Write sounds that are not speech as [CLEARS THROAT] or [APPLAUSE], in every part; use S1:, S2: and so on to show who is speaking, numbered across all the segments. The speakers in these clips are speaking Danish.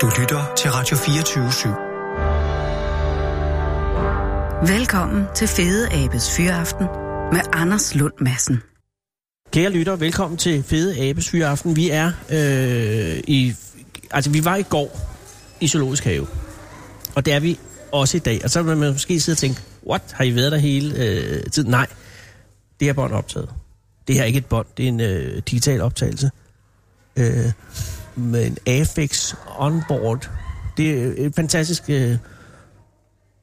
S1: Du lytter til Radio 24 /7.
S2: Velkommen til Fede Abes Fyraften med Anders Lund Madsen.
S3: Kære lytter, velkommen til Fede Abes Fyraften. Vi er øh, i... Altså, vi var i går i Zoologisk Have. Og det er vi også i dag. Og så vil man måske sidde og tænke, what, har I været der hele øh, tiden? Nej, det er bånd optaget. Det her er ikke et bånd, det er en øh, digital optagelse. Øh, med en Afex Onboard. Det er et fantastisk øh,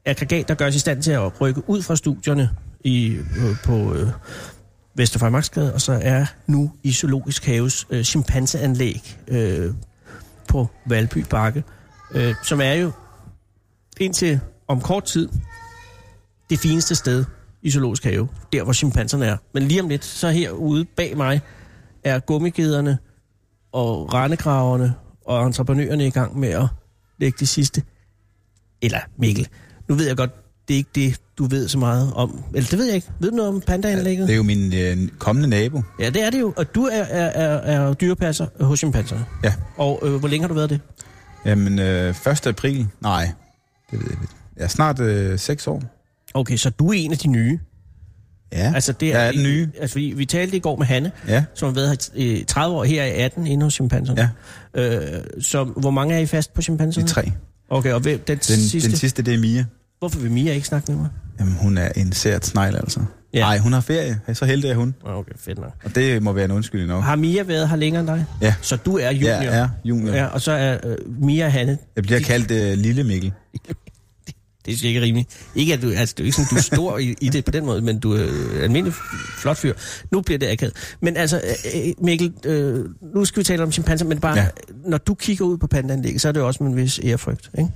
S3: aggregat, der gør os i stand til at rykke ud fra studierne i, øh, på øh, Vesterfejmarksgade, og så er nu i Zoologisk Haves øh, chimpanseanlæg øh, på Valby Bakke, øh, som er jo indtil om kort tid det fineste sted i Zoologisk Have, der hvor chimpanserne er. Men lige om lidt, så herude bag mig, er gummigederne og rendegraverne og entreprenørerne i gang med at lægge det sidste. Eller Mikkel, nu ved jeg godt, det er ikke det, du ved så meget om. Eller det ved jeg ikke. Ved du noget om pandaanlægget?
S4: Ja, det er jo min øh, kommende nabo.
S3: Ja, det er det jo. Og du er, er, er, er dyrepasser hos chimpanserne.
S4: Ja.
S3: Og øh, hvor længe har du været det?
S4: Jamen, øh, 1. april. Nej, det ved jeg ikke. Jeg er snart øh, 6 år.
S3: Okay, så du er en af de nye.
S4: Ja,
S3: altså, det er,
S4: jeg er den nye.
S3: Altså, vi, vi talte i går med Hanne,
S4: ja.
S3: som har været her i 30 år, her i 18, inde hos chimpanserne. Ja. Øh, så, hvor mange er I fast på chimpanserne?
S4: De tre.
S3: Okay, og hvem, den,
S4: den,
S3: sidste?
S4: Den sidste, det er Mia.
S3: Hvorfor vil Mia ikke snakke med mig?
S4: Jamen, hun er en sært snegl, altså. Ja. Nej, hun har ferie. Så heldig er hun.
S3: Okay, fedt nok.
S4: Og det må være en undskyldning nok.
S3: Har Mia været her længere end dig?
S4: Ja.
S3: Så du er junior?
S4: Ja, er junior.
S3: Ja, og så er øh, Mia og Hanne...
S4: Jeg bliver de... kaldt øh, Lille Mikkel.
S3: det er sikkert rimeligt. Ikke at du, altså, det er ikke sådan, du er stor i, i det på den måde, men du er øh, almindelig flot fyr. Nu bliver det akavet. Men altså, øh, Mikkel, øh, nu skal vi tale om chimpanser, men bare, ja. når du kigger ud på pandanlægget, så er det også med en vis ærefrygt, ikke?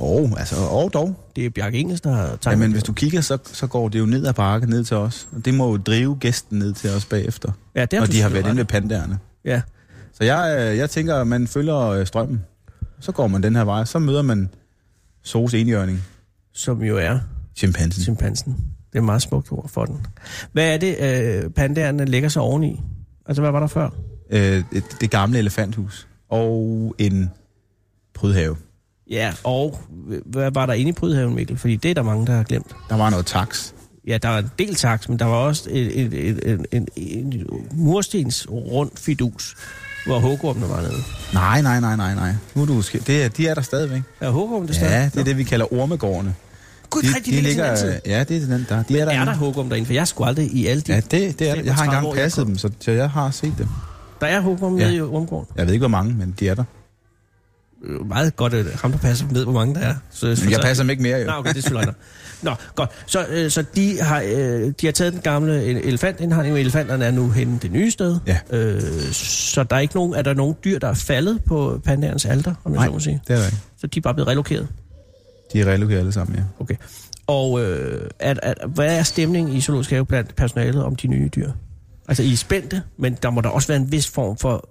S4: Jo, altså, og dog.
S3: Det er Bjarke Engels, der har
S4: tegnet men hvis du kigger, så, så går det jo ned ad bakke, ned til os. Og det må jo drive gæsten ned til os bagefter.
S3: Ja, det har
S4: når de har været inde ved pandagerne.
S3: Ja.
S4: Så jeg, øh, jeg tænker, at man følger øh, strømmen. Så går man den her vej, så møder man Sos enhjørning.
S3: Som jo er?
S4: Chimpansen.
S3: Chimpansen. Det er et meget smukt ord for den. Hvad er det, øh, pandaerne lægger sig oveni? Altså, hvad var der før?
S4: Øh, det, det gamle elefanthus. Og en prydhave.
S3: Ja, og øh, hvad var der inde i prydhaven, Mikkel? Fordi det er der mange, der har glemt.
S4: Der var noget tax.
S3: Ja, der var en del tax, men der var også et, et, et, et, en, en murstens rund fidus, hvor hukormene var nede.
S4: Nej, nej, nej, nej, nej. Nu er du sk- det er, de er der stadigvæk.
S3: Er hukormene
S4: stadig? Ja, det er det, vi kalder ormegårdene.
S3: Gud, de, nej, de, de ligger, ligger
S4: Ja, det er den der.
S3: De men er, der er der hukum derinde? For jeg skulle aldrig i alle de...
S4: Ja, det, det er, jeg har engang år, passet dem, så, så jeg har set dem.
S3: Der er hukum ja. nede i rumgården?
S4: Jeg ved ikke, hvor mange, men de er der.
S3: Meget godt, at ham, der passer dem, ved, hvor mange der er.
S4: Så, men jeg så, passer dem ikke mere, jo.
S3: Nej, okay, det er selvfølgelig Nå, godt. Så, øh, så de, har, øh, de har taget den gamle elefantindhegning, og elefanterne er nu henne det nye sted.
S4: Ja.
S3: Øh, så der er ikke nogen, er der nogen dyr, der er faldet på pandaernes alter, om jeg
S4: Nej,
S3: så må sige?
S4: det er der ikke.
S3: Så de er bare blevet relokeret?
S4: De er relokeret alle sammen, ja.
S3: Okay. Og øh, at, at, hvad er stemningen i zoologisk have blandt personalet om de nye dyr? Altså, I er spændte, men der må der også være en vis form for...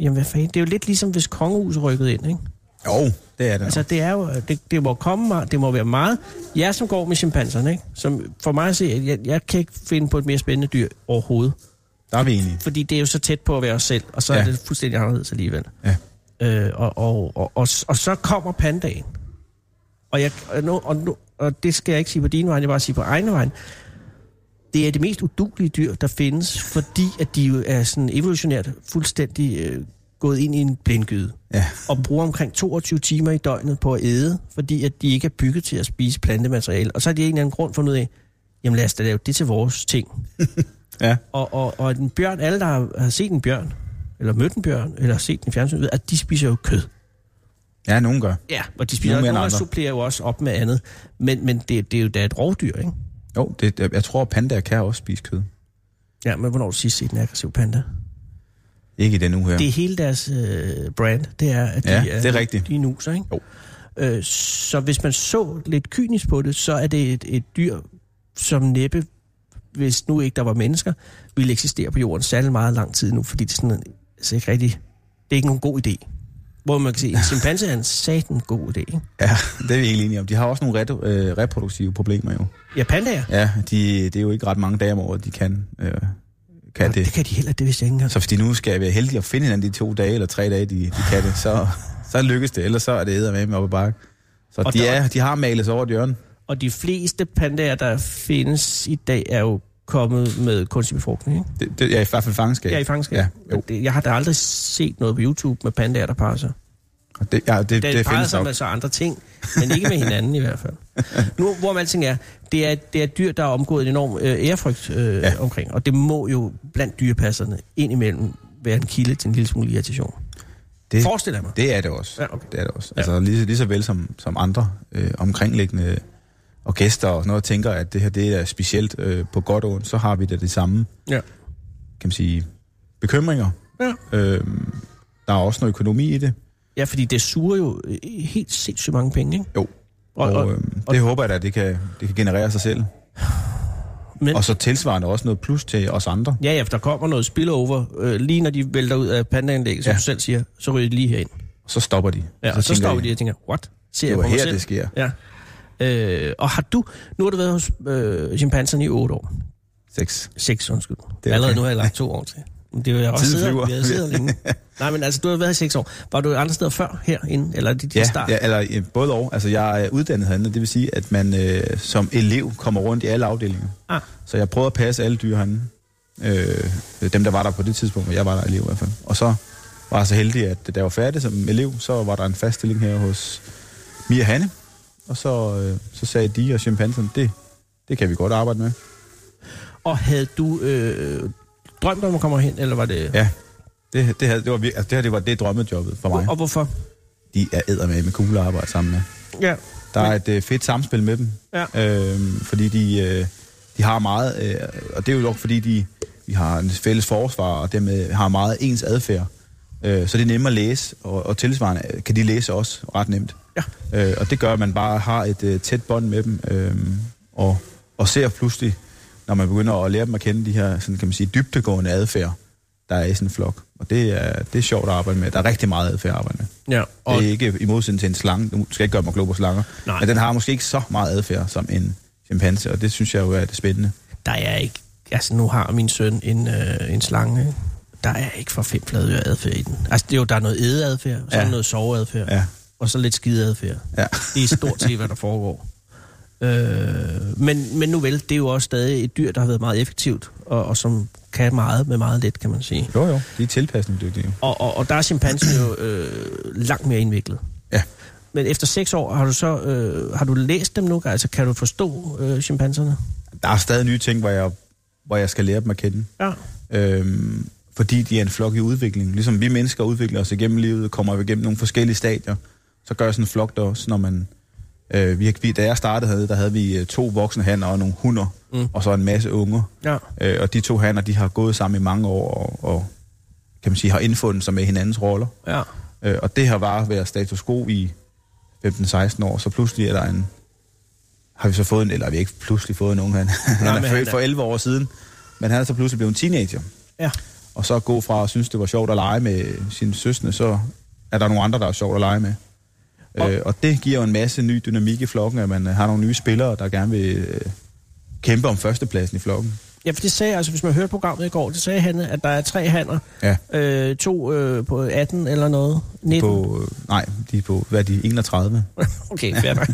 S3: Jamen, hvad fanden? Det er jo lidt ligesom, hvis kongehuset rykkede ind, ikke?
S4: Jo, det er det.
S3: Altså, det er jo... Det, det, må komme, det må være meget... Jeg som går med chimpanserne, ikke? Som for mig at se, jeg, jeg kan ikke finde på et mere spændende dyr overhovedet.
S4: Der er vi enige.
S3: Fordi det er jo så tæt på at være os selv, og så ja. er det fuldstændig anderledes alligevel.
S4: Ja.
S3: Øh, og, og, og, og, og så kommer pandaen. Og, jeg, og, nu, og, nu, og det skal jeg ikke sige på din vej, jeg bare sige på egen vej. Det er det mest udulige dyr, der findes, fordi at de jo er sådan evolutionært fuldstændig øh, gået ind i en blindgyde.
S4: Ja.
S3: Og bruger omkring 22 timer i døgnet på at æde, fordi at de ikke er bygget til at spise plantemateriale. Og så har de en eller anden grund fundet ud af, jamen lad os da lave det til vores ting.
S4: ja.
S3: Og, og, og en bjørn, alle der har, har set en bjørn, eller mødt en bjørn, eller set en fjernsyn, ved, at de spiser jo kød.
S4: Ja, nogen gør.
S3: Ja, og de spiser nogen, nogen supplerer jo også op med andet. Men, men det, det er jo da et rovdyr, ikke?
S4: Jo, det, jeg tror, pandaer kan også spise kød.
S3: Ja, men hvornår du sidst set en aggressiv panda?
S4: Ikke i den uge her.
S3: Det er hele deres øh, brand, det er, at de,
S4: ja, det er,
S3: er
S4: rigtigt.
S3: de er nuser, ikke?
S4: Jo.
S3: Øh, så hvis man så lidt kynisk på det, så er det et, et dyr, som næppe, hvis nu ikke der var mennesker, ville eksistere på jorden særlig meget lang tid nu, fordi det er sådan, altså ikke rigtig, det er ikke nogen god idé. Hvor man kan sige,
S4: [LAUGHS]
S3: en chimpanse er en satan god idé, ikke?
S4: Ja, [LAUGHS] det er vi helt enige om. De har også nogle re- øh, reproduktive problemer jo.
S3: Ja, pandaer?
S4: Ja, de, det er jo ikke ret mange dage om året, de kan øh, kan
S3: Nå,
S4: det.
S3: det kan de heller, det vidste jeg ikke engang.
S4: Så hvis de nu skal være heldige at finde hinanden de to dage eller tre dage, de, de kan det, så, så lykkes det. Ellers så er det med op ad bakke. Så
S3: Og
S4: de,
S3: der-
S4: er, de har malet sig over et hjørne.
S3: Og de fleste pandaer, der findes i dag, er jo kommet med kunstig befrugtning, ikke?
S4: Det, det, ja, i hvert fald fangenskab.
S3: Ja, i fangenskab.
S4: Ja,
S3: Men
S4: jo.
S3: det, jeg har da aldrig set noget på YouTube med pandaer, der parer sig.
S4: Og det, ja, det,
S3: Det,
S4: det,
S3: det
S4: det
S3: parer
S4: findes
S3: sig
S4: nok.
S3: med så altså andre ting, men ikke med hinanden i hvert fald. Nu, hvor alting er, det er, det er et dyr, der er omgået en enorm øh, ærefrygt øh, ja.
S4: Ja.
S3: omkring, og det må jo blandt dyrepasserne indimellem være en kilde til en lille smule irritation.
S4: Det,
S3: Forestil dig mig.
S4: det er det også.
S3: Ja, okay.
S4: Det er det også.
S3: Ja.
S4: Altså lige, lige så vel som, som andre øh, omkringliggende og gæster og sådan noget, tænker, at det her det er specielt øh, på godt og ondt, så har vi da det samme,
S3: Ja.
S4: kan man sige, bekymringer.
S3: Ja.
S4: Øh, der er også noget økonomi i det.
S3: ja, fordi det suger jo øh, helt sindssygt mange penge, ikke?
S4: Jo.
S3: Og-
S4: Og,
S3: og-
S4: og, øh, det håber jeg da, at det kan, det kan generere sig selv.
S3: Men,
S4: Og så tilsvarende også noget plus til os andre.
S3: Ja, ja, for der kommer noget spillover. Øh, lige når de vælter ud af pandaanlægget, som
S4: Ja.
S3: du selv siger, så ryger de lige herind.
S4: Så stopper de.
S3: Ja, og så, så
S4: tænker
S3: står
S4: de,
S3: de og tænker, what? Ser
S4: Det
S3: jeg
S4: var
S3: på mig
S4: her,
S3: selv?
S4: det sker.
S3: Ja. Øh, og har du, nu har du været hos øh, chimpanserne i 8 år.
S4: Sex.
S3: 6, undskyld. Det
S4: okay.
S3: Allerede nu har jeg lagt to år til. Men Det er jo jeg også
S4: Tiden
S3: sidder,
S4: flyver.
S3: jeg sidder
S4: [LAUGHS]
S3: længe. Nej, men altså, du har været i 6 år. Var du andre steder før herinde, eller dit
S4: Ja,
S3: start?
S4: ja, eller øh, både og. Altså, jeg er uddannet herinde, og det vil sige, at man øh, som elev kommer rundt i alle afdelinger.
S3: Ah,
S4: Så jeg prøvede at passe alle dyr herinde. Øh, dem, der var der på det tidspunkt, hvor jeg var der elev i hvert fald. Og så var jeg så heldig, at da jeg var færdig som elev, så var der en fast stilling her hos Mia Hanne. Og så, øh, så sagde de og chimpansen, det, det kan vi godt arbejde med.
S3: og havde du øh, drømt om at komme hen, eller var det...
S4: Ja, det, det, her, det, var, vir- altså, det her det var det drømmejobbet for mig.
S3: Og hvorfor?
S4: De er æder med med kugle at arbejde sammen med.
S3: Ja.
S4: Der er et øh, fedt samspil med dem,
S3: Ja.
S4: øhm, fordi de, øh, de har meget, øh, og det er jo nok fordi, de, vi har en fælles forsvar, og dermed har meget ens adfærd. Øh, så det er nemmere at læse, og, og tilsvarende øh, kan de læse også ret nemt.
S3: Ja.
S4: Øh, og det gør, at man bare har et øh, tæt bånd med dem, øh, og, og ser pludselig, når man begynder at lære dem at kende de her sådan, kan man sige, dybtegående adfærd, der er i sådan en flok. Og det er, det er sjovt at arbejde med. Der er rigtig meget adfærd at arbejde med.
S3: ja.
S4: Og
S3: Og,
S4: det er ikke i modsætning til en slange. Nu skal jeg ikke gøre mig klog på slanger.
S3: Nej.
S4: Nej. Men den har måske ikke så meget adfærd som en chimpanse, og det synes jeg jo er det spændende.
S3: der er ikke... Altså, nu har min søn en, øh, en slange, ikke? Der er ikke for fem flade adfærd i den. Altså, det er jo, der er noget ædeadfærd, så er
S4: Ja.
S3: der noget soveadfærd,
S4: Ja.
S3: og så lidt skideadfærd.
S4: Ja.
S3: Det er stort set, hvad der foregår. Øh, men, men nu vel, det er jo også stadig et dyr, der har været meget effektivt, og, og som kan meget med meget lidt, kan man sige.
S4: Jo, jo. De er tilpasningsdygtige. jo.
S3: Og, og, og der er chimpansen jo øh, langt mere indviklet.
S4: Ja.
S3: Men efter seks år, har du så øh, har du læst dem nu? Altså, kan du forstå øh, chimpanserne?
S4: Der er stadig nye ting, hvor jeg, hvor jeg skal lære dem at kende.
S3: Ja.
S4: Øhm, fordi de er en flok i udvikling. Ligesom vi mennesker udvikler os igennem livet, kommer vi igennem nogle forskellige stadier, så gør sådan en flok der også, når man... Øh, vi, vi- da jeg startede hernede, der havde vi øh, to voksne hanner og nogle hunder,
S3: Mm.
S4: mm. og så en masse unger.
S3: Ja.
S4: Øh, og de to hanner, de har gået sammen i mange år, og, og kan man sige, har indfundet sig med hinandens roller.
S3: Ja.
S4: Øh, og det har bare været status quo i 15-16 år, så pludselig er der en... Har vi så fået en, eller har vi ikke pludselig fået en ung han?
S3: Nej,
S4: han
S3: men
S4: er
S3: han
S4: født
S3: er-
S4: for 11 år siden, men han er så pludselig blevet en teenager.
S3: Ja.
S4: Og så at gå fra at synes, det var sjovt at lege med sine søsne, så er der nogle andre, der er sjovt at lege med.
S3: Og-
S4: Og, øh, og det giver jo en masse ny dynamik i flokken, at man øh, har nogle nye spillere, der gerne vil øh, kæmpe om førstepladsen i flokken.
S3: Ja, for det sagde, altså hvis man hørte programmet i går, det sagde han, at der er tre hanner.
S4: Ja.
S3: Øh, to øh, på 18 eller noget. 19.
S4: På, øh, nej, de er på, hvad er de, 31?
S3: [LAUGHS] okay, fair
S4: [LAUGHS]
S3: nok.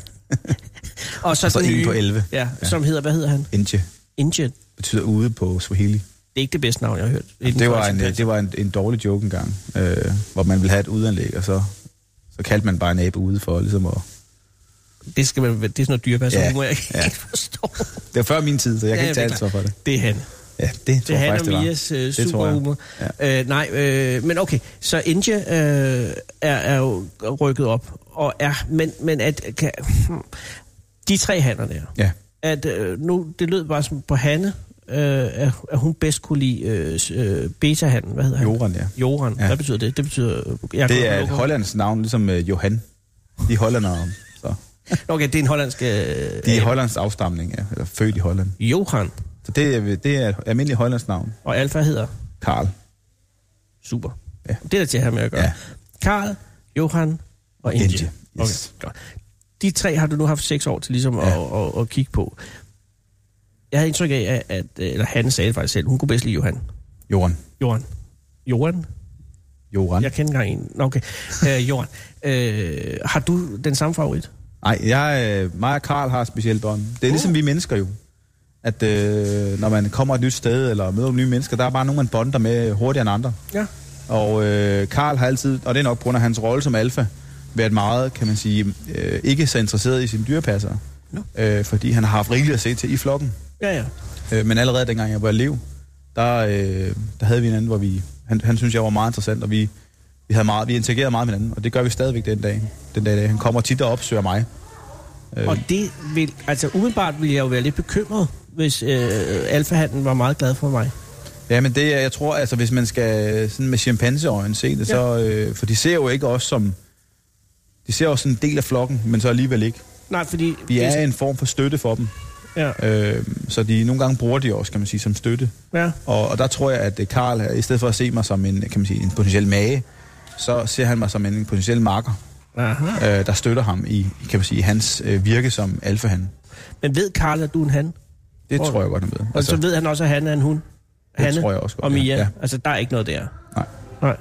S3: Og så,
S4: Og så
S3: den
S4: en
S3: nye,
S4: på 11.
S3: Ja,
S4: Ja.
S3: som hedder, hvad hedder han?
S4: Inche
S3: Indien.
S4: betyder ude på Swahili.
S3: Det er ikke det bedste navn, jeg har hørt. Inden
S4: Det
S3: for
S4: var, en,
S3: chimpanse.
S4: øh, det var en, en dårlig joke engang, øh, hvor man ville have et udanlæg, og så, så kaldte man bare en abe ude for ligesom at...
S3: det, skal man, det er sådan noget dyrepasser,
S4: Ja,
S3: ja. må jeg ikke
S4: ja.
S3: ja. forstå.
S4: Det var før min tid, så jeg
S3: Ja,
S4: kan ikke
S3: det er
S4: tage ansvar for det.
S3: Det er han.
S4: Ja, det tror
S3: Det er
S4: jeg
S3: han og
S4: faktisk, det var.
S3: Mias øh,
S4: Det tror jeg.
S3: superhumor.
S4: Ja.
S3: Ja. Øh, nej, øh, men okay. Så India øh, er, er jo rykket op. Og er, men, men at... Kan, hmm, de tre hanner der.
S4: Ja,
S3: at øh, nu, det lød bare som på Hanne, øh, at, at hun bedst kunne lide øh, s- øh, beta-handen. Hvad hedder han?
S4: Joran, ja.
S3: Joran. Ja.
S4: Ja.
S3: Hvad betyder det? Det betyder... øh, Jeg
S4: Det er et
S3: et
S4: hollandsk navn, ligesom øh, Johan. De er hollandere, så.
S3: Okay, det er en hollandsk... Øh,
S4: De er
S3: abe.
S4: hollands afstamning, ja, eller født i Holland.
S3: Johan.
S4: Så det er, det er et almindeligt hollandsk navn.
S3: Og Alfa hedder...
S4: Karl.
S3: Super.
S4: Ja.
S3: Det er der til at have med at gøre.
S4: Ja.
S3: Karl, Johan og Inge.
S4: Inge,
S3: Yes.
S4: yes.
S3: Okay, godt. De tre har du nu haft seks år til ligesom ja. at, at, at kigge på. Jeg havde indtryk af, at, at eller han sagde det faktisk selv, hun kunne bedst lide Johan.
S4: Jorden.
S3: Joran. Joran?
S4: Jorden.
S3: Jeg kender ikke engang en. Nå, Okay. Øh, Joran, øh, har du den samme favorit?
S4: Nej, jeg, øh, mig og Karl har specielt bånd. Det er ligesom vi mennesker jo. At øh, når man kommer et nyt sted, eller møder nogle nye mennesker, der er bare nogen, man bonder med hurtigere end andre.
S3: Ja.
S4: Og øh, Karl har altid, og det er nok på grund af hans rolle som alfa, været meget, kan man sige, øh, ikke så interesseret i sine dyrepasser.
S3: Nå.
S4: Øh, fordi han har haft rigeligt at se til i flokken.
S3: Ja, ja.
S4: Øh, men allerede dengang jeg var elev, der, øh, der havde vi en anden, hvor vi, han, han synes, jeg var meget interessant, og vi, vi, havde meget, vi interagerede meget med hinanden, og det gør vi stadigvæk den dag. Den dag, i dag. Han kommer tit og opsøger mig. Øh.
S3: Og det vil, altså umiddelbart ville jeg jo være lidt bekymret, hvis øh, alfahanden var meget glad for mig.
S4: Ja, men det er, jeg tror, altså hvis man skal sådan med chimpanseøjne se det, ja. så, øh, for de ser jo ikke os som, de ser os som en del af flokken, men så alligevel ikke.
S3: Nej, fordi...
S4: Vi er en form for støtte for dem,
S3: Ja,
S4: øh, så de nogle gange bruger de os, kan man sige, som støtte.
S3: ja.
S4: Og, og der tror jeg, at øh, Karl, her, i stedet for at se mig som en, kan man sige, en potentiel mage, så ser han mig som en potentiel marker,
S3: Aha.
S4: øh, der støtter ham i, kan man sige, hans øh, virke som alfahan.
S3: Men ved Karl, at du er en han?
S4: Det
S3: Og-
S4: tror jeg godt, han ved. Altså,
S3: Og så ved han også, at han er en hund.
S4: Det
S3: Hanne
S4: tror jeg også godt,
S3: og
S4: ja.
S3: Mia.
S4: Ja.
S3: Altså, der er ikke noget der.
S4: Nej.
S3: Nej.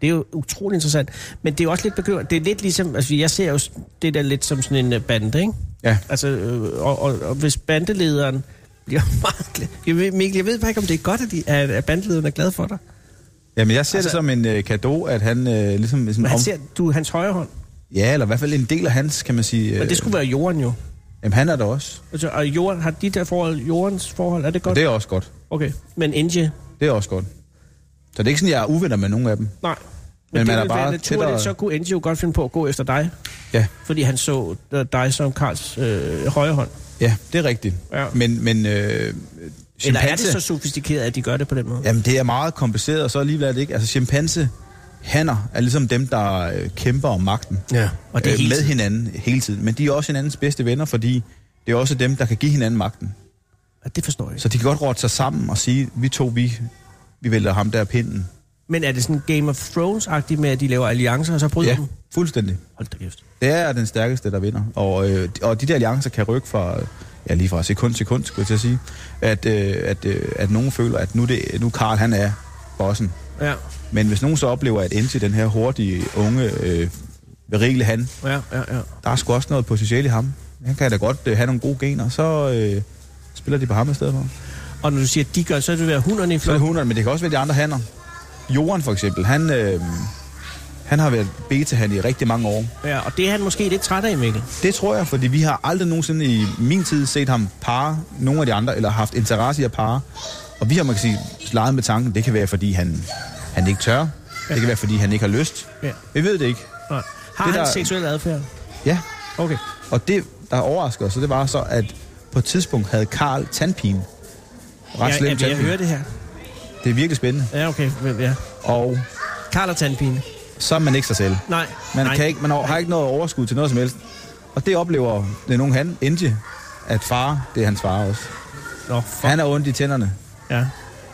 S3: Det er jo utroligt interessant. Men det er jo også lidt bekymrende. Det er lidt ligesom... Altså, jeg ser jo s- det der lidt som sådan en øh, bande, ikke?
S4: Ja.
S3: Altså, øh, og, og, og hvis bandelederen bliver [LAUGHS] meget glad... Jeg ved, Mikkel, jeg ved bare ikke, om det er godt, at, de, at, at bandelederen er glad for dig.
S4: Jamen, jeg ser altså,
S3: Altså-
S4: det som en øh, gave, at han øh, ligesom... ligesom
S3: Men han
S4: om-
S3: ser, du er hans højre hånd.
S4: Ja, eller i hvert fald en del af hans, kan man sige.
S3: Men
S4: øh,
S3: det skulle være jorden jo.
S4: Jamen, han er der også.
S3: Altså, og jorden, har de der forhold, jordens forhold, er det
S4: Og
S3: godt?
S4: det er også godt.
S3: Okay, men Inge,
S4: Det er også godt. Så det er ikke sådan, jeg er uvenner med nogen af dem.
S3: nej. Men,
S4: Men
S3: men det
S4: man er
S3: ville være
S4: bare
S3: naturligt,
S4: tættere-
S3: så kunne Inge jo godt finde på at gå efter dig,
S4: Ja,
S3: fordi han så øh, dig som Karls øh, højre hånd.
S4: ja det er rigtigt.
S3: Ja.
S4: Men, men øh,
S3: Eller er det
S4: chimpanse-
S3: så sofistikeret, at de gør det på den måde?
S4: Jamen, det er meget kompliceret, og så alligevel er det ikke. Altså, chimpanse hanner er ligesom dem, der øh, kæmper om magten.
S3: Ja, og det er hele
S4: Øh, med
S3: tiden.
S4: hinanden hele tiden. Men de er også hinandens bedste venner, fordi det er også dem, der kan give hinanden magten.
S3: Ja, det forstår jeg ikke.
S4: Så de kan godt råde sig sammen og sige, vi to, vi, vi vælter ham der pinden.
S3: Men er det sådan Game of Thrones-agtigt med, at de laver alliancer, og så bryder
S4: Ja,
S3: dem?
S4: fuldstændig.
S3: Hold da kæft.
S4: Det er den stærkeste, der vinder. Og, øh, og de der alliancer kan rykke fra, øh, ja, lige fra sekund til sekund, skulle jeg til at sige, at, øh, at, øh, at nogen føler, at nu, det, nu Karl han er bossen.
S3: Ja,
S4: Men hvis nogen så oplever, at Enzi, den her hurtige, unge, øh, berigelig han,
S3: ja, ja, ja.
S4: der er sgu også noget potentiale i ham. Han kan da godt øh, have nogle gode gener, så øh, spiller de på ham i stedet for.
S3: Og når du siger, at de gør, så er det ved at hunderne i
S4: Så er det
S3: flok.
S4: hunderne, men det kan også være de andre hanner. Jorden for eksempel, han, øh, han har været beta-han i rigtig mange år.
S3: Ja, og det er han måske lidt træt af, Mikkel.
S4: Det tror jeg, fordi vi har aldrig nogensinde i min tid set ham pare nogle af de andre, eller haft interesse i at pare. Og vi har, man kan sige, leget med tanken, det kan være, fordi han, han ikke tør. Det kan være, fordi han ikke har lyst.
S3: Ja.
S4: Vi ved det ikke.
S3: Nej. Har
S4: Det
S3: han
S4: der-
S3: seksuel adfærd?
S4: Ja,
S3: Okay.
S4: og det, der overrasker os, så det var så, at på et tidspunkt havde Karl tandpine. Ret
S3: Jeg,
S4: slem
S3: jeg, jeg, jeg
S4: tandpine.
S3: hører det her.
S4: Det er virkelig spændende.
S3: Ja, okay. men Ja.
S4: Og
S3: Karl og tandpine.
S4: så er man ikke sig selv.
S3: Nej.
S4: Man,
S3: nej.
S4: kan ikke, man har ikke noget overskud til noget som helst. Og det oplever den unge han, Inge, at far, det er hans far også.
S3: Nå, fuck.
S4: Han er ondt i tænderne.
S3: Ja.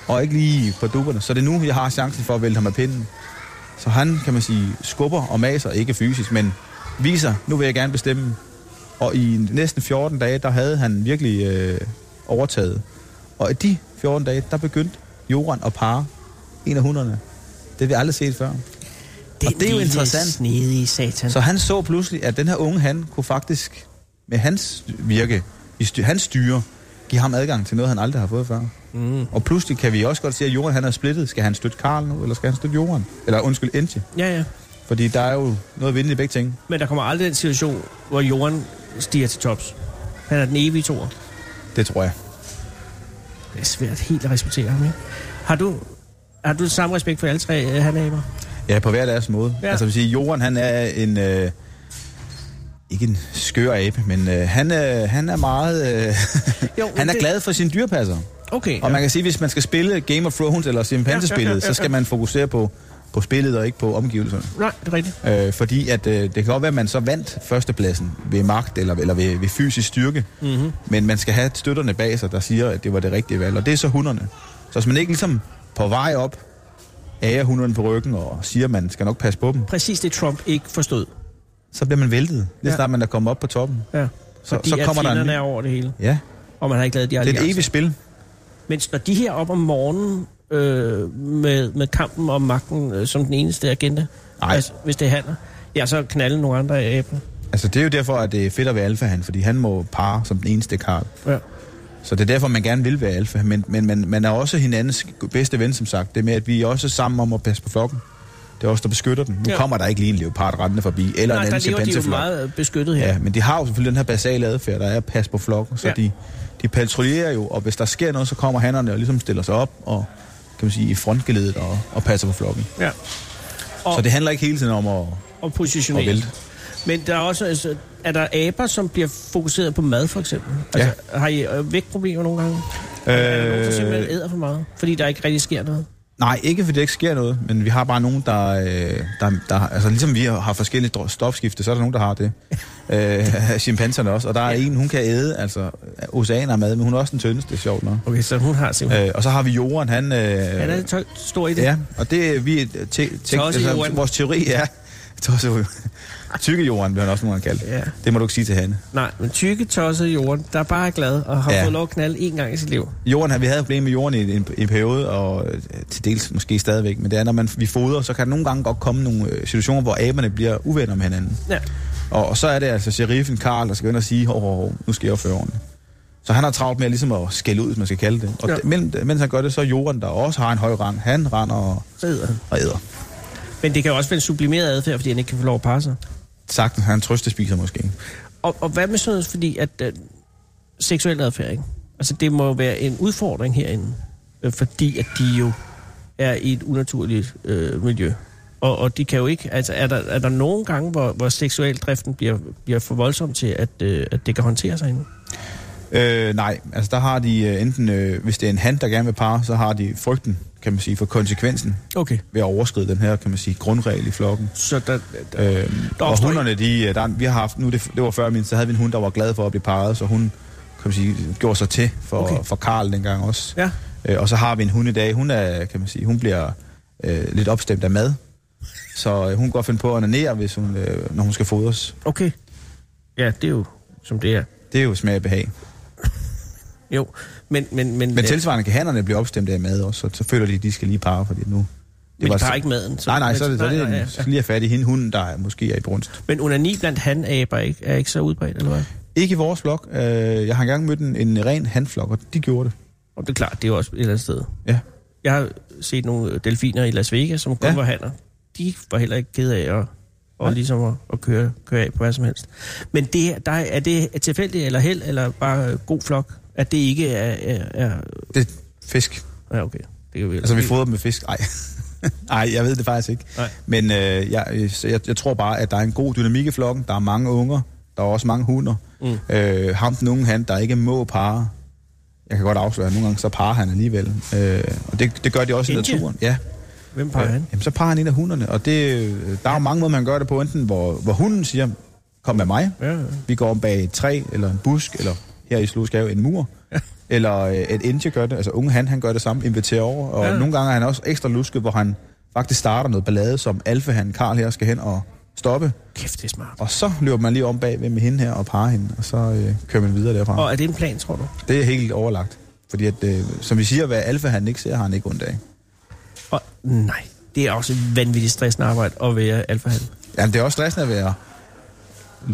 S4: og ikke lige på dupperne. Så det er nu, jeg har chancen for at vælte ham af pinden. Så han, kan man sige, skubber og maser, ikke fysisk, men viser, nu vil jeg gerne bestemme. Og i næsten 14 dage, der havde han virkelig øh, overtaget. Og i de 14 dage, der begyndte Joran at parre en af hunderne. Det har vi aldrig set før.
S3: Den
S4: det er jo
S3: lille
S4: interessant.
S3: snedige satan.
S4: Så
S3: Så.
S4: han så pludselig, at den her unge han kunne faktisk med hans virke, i sty- hans styre, give ham adgang til noget, han aldrig har fået før. Mm. Og pludselig kan vi også godt se, at Joran han er splittet. Skal han støtte Karl nu, eller skal han støtte Joran? Eller undskyld, Entje.
S3: Ja, ja.
S4: Fordi der er jo noget at vinde i begge ting.
S3: Men der kommer aldrig den situation, hvor Jorden stiger til tops. Han er den evige toer.
S4: Det tror jeg.
S3: Det er svært helt at respektere ham, ikke? Har du, har du samme respekt for alle tre øh, hanaber?
S4: Ja, på hver deres måde.
S3: Ja.
S4: Ja. Altså, vil sige, Joran han er en... Øh, ikke en skør abe, men øh, han, øh, han er meget... Øh,
S3: Jo,
S4: jo, [LAUGHS] han er
S3: det-
S4: glad for sin dyrepasser.
S3: Okay.
S4: Og man kan sige, at hvis man skal spille Game of Thrones eller
S3: Ja,
S4: chimpansespillet,
S3: ja,
S4: ja, ja,
S3: ja,
S4: ja,
S3: ja, ja.
S4: så skal man fokusere på, på spillet og ikke på omgivelserne.
S3: Nej, det er rigtigt.
S4: Øh, fordi at, øh, det kan godt være, at man så vandt førstepladsen ved magt eller, eller ved, ved fysisk styrke. Mm-hmm. Men man skal have støtterne bag sig, der siger, at det var det rigtige valg. Og det er så hunderne. Så hvis man ikke ligesom på vej op ærer hunderne på ryggen og siger, at man skal nok passe på dem,
S3: Præcis det, Trump ikke forstod.
S4: så bliver man væltet, lige
S3: Ja.
S4: ja. snart man er kommet op på toppen.
S3: Ja.
S4: Så-
S3: Fordi
S4: så
S3: at
S4: kommer der en
S3: fjenderne
S4: ny-
S3: er over det hele.
S4: Ja,
S3: Og man har ikke lavet de
S4: det er et
S3: alliancer.
S4: evigt spil.
S3: Mens når de her op om morgenen øh, med, med kampen om magten øh, som den eneste agenda.
S4: Nej.
S3: Altså, hvis det handler. Ja, så knalde nogle andre af æbler.
S4: Altså, det er jo derfor, at det er fedt at være alfa han, fordi han må pare som den eneste karl.
S3: Ja.
S4: Så det er derfor, man gerne vil være alfa, men, men man, man er også hinandens bedste ven, som sagt. Det med, at vi er også sammen om at passe på flokken. Det er os, der beskytter den. Nu
S3: Ja.
S4: ja. kommer der ikke lige en leopard rendende forbi, eller
S3: Nej,
S4: en
S3: der
S4: anden
S3: lever de jo
S4: chimpanseflok.
S3: meget øh, beskyttet her.
S4: Ja, men de har jo selvfølgelig den her basale adfærd, der er at passe på flokken, så
S3: Ja.
S4: ja. de, de patruljerer jo, og hvis der sker noget, så kommer hannerne og ligesom stiller sig op og kan man sige, i frontgeledet og, og passer på flokken.
S3: ja. Og,
S4: Så det handler ikke hele tiden om at...
S3: og positionere.
S4: og vælte.
S3: Men der er også, altså, er der aber, som bliver fokuseret på mad, for eksempel? Altså, ja. Har I øh, vægtproblemer nogle gange? Øh... Er der nogen, der simpelthen æder for meget, fordi der ikke rigtig sker noget?
S4: Nej, ikke fordi der ikke sker noget, men vi har bare nogen, der... øh, der, der altså ligesom vi har forskellige dro- stofskifte, så er der nogen, der har det. øh, chimpanserne også. Og der er en, hun kan æde, altså oceaner af mad, men hun er også den tyndeste, sjovt nok.
S3: Okay, så hun har simpelthen...
S4: Øh, og så har vi Jorden, han... Øh,
S3: Øh... Han er tøj, stor i det.
S4: Ja, og det vi øh, te, te,
S3: Tosset
S4: altså,
S3: Johan.
S4: vores teori er [LAUGHS] Tosset Tykke jorden, vil han også nogle gange kalde.
S3: Ja.
S4: Ja. Det må du ikke sige til Hanne.
S3: Nej, men tykke, tossede jorden, der bare er glad og har ja.
S4: Ja.
S3: fået lov at knalde én gang i sit liv.
S4: Jorden, har- vi havde problemer med jorden i en, en periode, og øh, til dels måske stadigvæk, men det er, når man, vi fodrer, så kan der nogle gange godt komme nogle øh, situationer, hvor aberne bliver uvenner med hinanden.
S3: Ja.
S4: Og, og så er det altså sheriffen Karl, der skal ind og sige, hov, hov, hov, nu skal jeg opføre ordentligt. Så han har travlt med at ligesom at skælde ud, hvis man skal kalde det. Og
S3: Ja.
S4: ja. mens, mens han gør det, så er jorden, der også har en høj rang, han render og,
S3: Så æder han.
S4: og æder.
S3: Men det kan jo også være en sublimeret adfærd, fordi han ikke kan få lov at passe sig.
S4: Sagtens, han trøstespiser måske.
S3: Og, og hvad med sådan noget, fordi at øh, seksuel adfærd, ikke? Altså, det må jo være en udfordring herinde, øh, fordi at de jo er i et unaturligt øh, miljø. Og, og de kan jo ikke, altså er der, er der nogle gange, hvor, hvor seksuel driften bliver, bliver for voldsom til, at, øh, at det kan håndtere sig endnu?
S4: Øh, nej, altså der har de øh, enten, øh, hvis det er en han, der gerne vil parre, så har de frygten, kan man sige, for konsekvensen
S3: Okay.
S4: ved at overskride den her, kan man sige, grundregel i flokken.
S3: Så der, der,
S4: Øh, og
S3: opstår
S4: hunderne, de, øh, der, er- vi har haft, nu det, det var før min, så havde vi en hund, der var glad for at blive parret, så hun, kan man sige, gjorde sig til for,
S3: Okay.
S4: okay. for Karl dengang også.
S3: Ja.
S4: Øh, og så har vi en hund i dag, hun er, kan man sige, hun bliver øh, lidt opstemt af mad, så øh, hun kan godt finde på at onanere, hvis hun, øh, når hun skal fodres.
S3: Okay. Ja, det er jo, som det er.
S4: Det er jo smag og behag.
S3: Jo, men... Men, øh, men,
S4: Men tilsvarende kan hannerne blive opstemt af mad også, så, så føler de, at de skal lige parre, fordi nu...
S3: det men de tager ikke maden.
S4: Nej, nej, så er
S3: men-
S4: det, så er det
S3: nej,
S4: nej,
S3: nej,
S4: så lige at fat i hende, hunden, der er, måske er i brunst.
S3: Men onani blandt hanaber ikke, er ikke så udbredt, eller hvad?
S4: Ikke i vores flok. Øh, jeg har engang mødt en, en ren handflok, og de gjorde det.
S3: Og det er klart, det er jo også et eller andet sted.
S4: Ja.
S3: Jeg har set nogle delfiner i Las Vegas, som kun ja.
S4: Ja.
S3: var hanner. De var heller ikke ked af at, og ligesom at, at køre, køre af på hvad som helst. Men det, her, der, er det tilfældigt eller held, eller bare øh, god flok, at det ikke er... er, er
S4: Det er fisk.
S3: ja, okay. Det kan vi
S4: Altså, vi fodrer dem med fisk. [LAUGHS] Nej. Nej, jeg ved det faktisk ikke.
S3: Nej.
S4: Men øh, jeg, så jeg, jeg tror bare, at der er en god dynamik i flokken. Der er mange unger. Der er også mange hunder. Mm. Øh, ham den unge han, der ikke må parre. Jeg kan godt afsløre, at nogle gange så parer han alligevel. Øh, og det, det gør de også
S3: Indie?
S4: i naturen. Ja.
S3: Hvem peger han?
S4: Øh, Jamen, så parer han en af hunderne, og det, øh, der er jo mange måder, man gør det på. Enten hvor, hvor hunden siger, kom med mig,
S3: Ja, ja.
S4: vi går om bag et træ, eller en busk, eller her i Slugskave en mur. Ja. Eller øh, at Inge gør det, altså unge han, han gør det samme, inviterer over. Og
S3: Ja.
S4: ja. nogle gange er han også ekstra lusket, hvor han faktisk starter noget ballade, som alfa han Karl her skal hen og stoppe.
S3: Kæft, det er smart.
S4: Og så løber man lige om bag med hende her og parer hende, og så øh, kører man videre derfra. Og...
S3: Og er det en plan, tror du?
S4: Det er helt overlagt. Fordi at, øh, som vi siger, hvad alfa han ikke ser, har han ikke ondt af.
S3: Og, nej, det er også et vanvittigt stressende arbejde at være alfahan.
S4: Jamen, det er også stressende at være,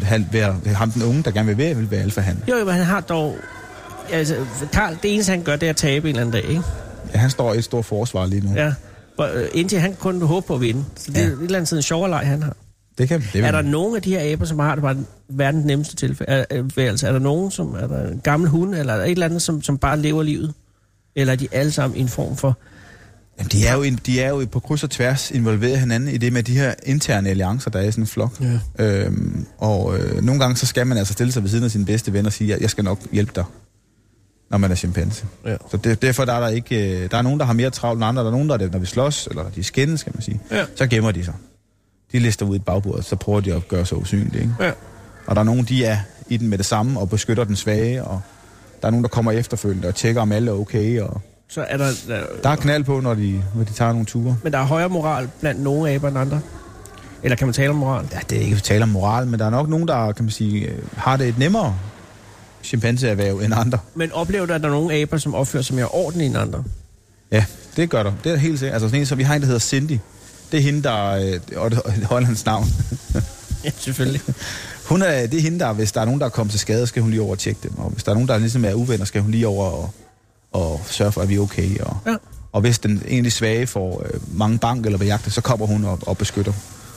S4: han, være ham den unge, der gerne vil være, vil være alfahan.
S3: Jo, jo, men han har dog... Altså, Karl, det eneste, han gør, det er at tabe en eller anden dag, ikke?
S4: Ja, han står i et stort forsvar lige nu. Ja.
S3: Ja. Hvor, øh, indtil han kun håber på at vinde. Så det er
S4: Ja.
S3: et eller andet side en sjovere leg, han har.
S4: Det kan det
S3: Er
S4: er
S3: der
S4: der...
S3: nogen af de her aber, som har det bare verdens nemmeste tilværelse? Er der nogen, som er der en gammel hund, eller er der et eller andet, som, som bare lever livet? Eller er de alle sammen i en form for...
S4: Jamen, de, er jo, en- de er jo på kryds og tværs involveret hinanden i det med de her interne alliancer, der er i sådan en flok.
S3: Ja.
S4: Øhm, og øh, nogle gange, så skal man altså stille sig ved siden af sin bedste ven og sige, jeg, jeg skal nok hjælpe dig, når man er chimpanse.
S3: Ja.
S4: Så det, derfor der er der ikke... Øh, der er nogen, der har mere travlt end andre. Der er nogen, der er det, når vi slås, eller når de skændes, skal man sige.
S3: Ja.
S4: Så gemmer de sig. De lister ud i bagbordet, så prøver de at gøre sig usynlige. Ikke?
S3: Ja.
S4: Og der er nogen, de er i den med det samme og beskytter den svage, og der er nogen, der kommer efterfølgende og tjekker, om alle er okay. Og
S3: Så er der... der
S4: der er knald på, når de, når de tager nogle ture.
S3: men der er højere moral blandt nogle aber end andre. Eller kan man tale om moral?
S4: Ja, det er ikke at tale om moral, men der er nok nogen, der kan man sige, øh, har det et nemmere chimpanseerhverv end andre.
S3: Men oplever du, at der er nogle aber, som opfører sig mere ordentligt end andre?
S4: Ja, Det gør der. Det er helt sikkert. Altså sådan en, som vi har en, der hedder Cindy. Det er hende, der... Øh, og det er Hollands navn.
S3: [LAUGHS] Ja, selvfølgelig.
S4: Hun er, det er hende, der, hvis der er nogen, der er kommet til skade, skal hun lige over og tjekke dem. Og hvis der er nogen, der ligesom er uvenner, skal hun lige over og, og sørge for, at vi er okay. Og,
S3: Ja.
S4: og hvis den egentlig svage får øh, mange bank eller hvad jagte, så kommer hun og, og beskytter.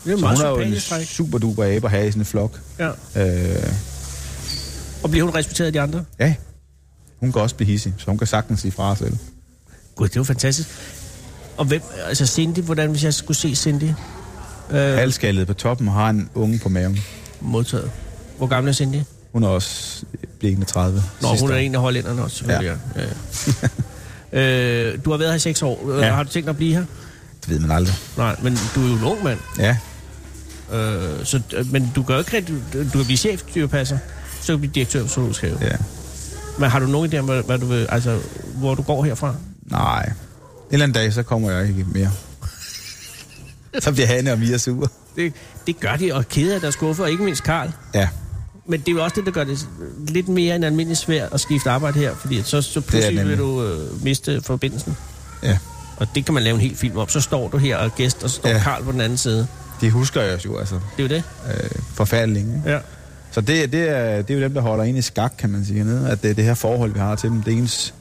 S3: Det er
S4: Så
S3: meget
S4: hun er jo en
S3: sympatisk træk.
S4: super duper abe at have i sådan en flok.
S3: Ja.
S4: Øh,
S3: Og bliver hun respekteret af de andre?
S4: ja, hun kan også blive hissig, så hun kan sagtens sige fra selv.
S3: Gud, det er jo fantastisk. Og hvem, altså Cindy, hvordan hvis jeg skulle se Cindy? Øh,
S4: Halskaldet på toppen og har en unge på maven.
S3: modtaget. Hvor gammel er Cindy?
S4: Hun er også blikkende 30.
S3: Nå,
S4: sidste
S3: hun er
S4: år.
S3: en af hollænderne også, selvfølgelig. Ja. Ja. [LAUGHS] øh, du har været her i seks år. Ja.
S4: Ja.
S3: Har du tænkt dig at blive her?
S4: Det ved man aldrig.
S3: Nej, men du er jo en ung mand.
S4: Ja,
S3: Øh, så, øh, men du kan jo ikke rigtig... Du kan blive chef, dyrepasser. Så kan du blive direktør på Zoologisk Have.
S4: ja.
S3: Men har du nogen idé om, hvad, hvad du vil, altså, hvor du går herfra?
S4: Nej. En eller anden dag, så kommer jeg ikke mere. Så bliver Hanne og Mia sure.
S3: Det, det gør de, og kede af deres skuffer, og ikke mindst Karl.
S4: Ja,
S3: Men det er jo også det, der gør det lidt mere end almindelig svært at skifte arbejde her, fordi at så, så pludselig vil
S4: nemlig.
S3: du øh, miste forbindelsen.
S4: ja.
S3: Og det kan man lave en hel film om. Så står du her og er gæst, og så står
S4: Ja.
S3: Karl på den anden side.
S4: De husker jeg jo, altså.
S3: Det er jo det.
S4: Øh, forfærdeligt, ikke?
S3: Ja.
S4: Så det, det, er, det er jo dem, der holder en i skak, kan man sige hernede. At det er det her forhold, vi har til dem. Det er ens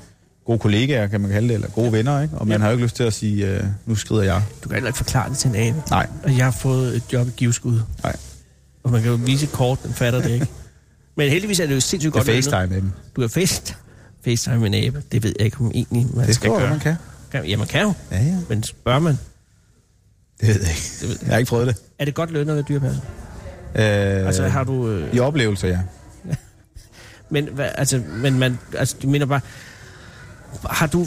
S4: gode kollegaer, kan man kalde det, eller gode venner, ikke? Og man
S3: Ja.
S4: har jo ikke lyst til at sige, øh, nu skrider jeg.
S3: Du kan heller ikke forklare det til en abe.
S4: Nej,
S3: Og jeg har fået et job i giveskud.
S4: nej.
S3: Og man kan jo vise et kort, den fatter det
S4: [LAUGHS]
S3: ikke. Men heldigvis er det jo sindssygt
S4: Jeg
S3: godt lønnet.
S4: facetime med dem.
S3: Du har fest. FaceTime med en abe. Det ved jeg ikke, om egentlig man
S4: Det
S3: skal
S4: tror jeg,
S3: gøre.
S4: man kan.
S3: Kan- Ja, man kan jo.
S4: Ja, ja.
S3: Men spørger man,
S4: Det ved jeg ikke.
S3: Det ved jeg.
S4: Jeg har ikke prøvet det.
S3: er det godt lønnet at være dyrepasser?
S4: Øh,
S3: Altså, har du... Øh,
S4: I oplevelser, ja.
S3: Men, hvad, altså, men man, altså, det minder bare... Har du...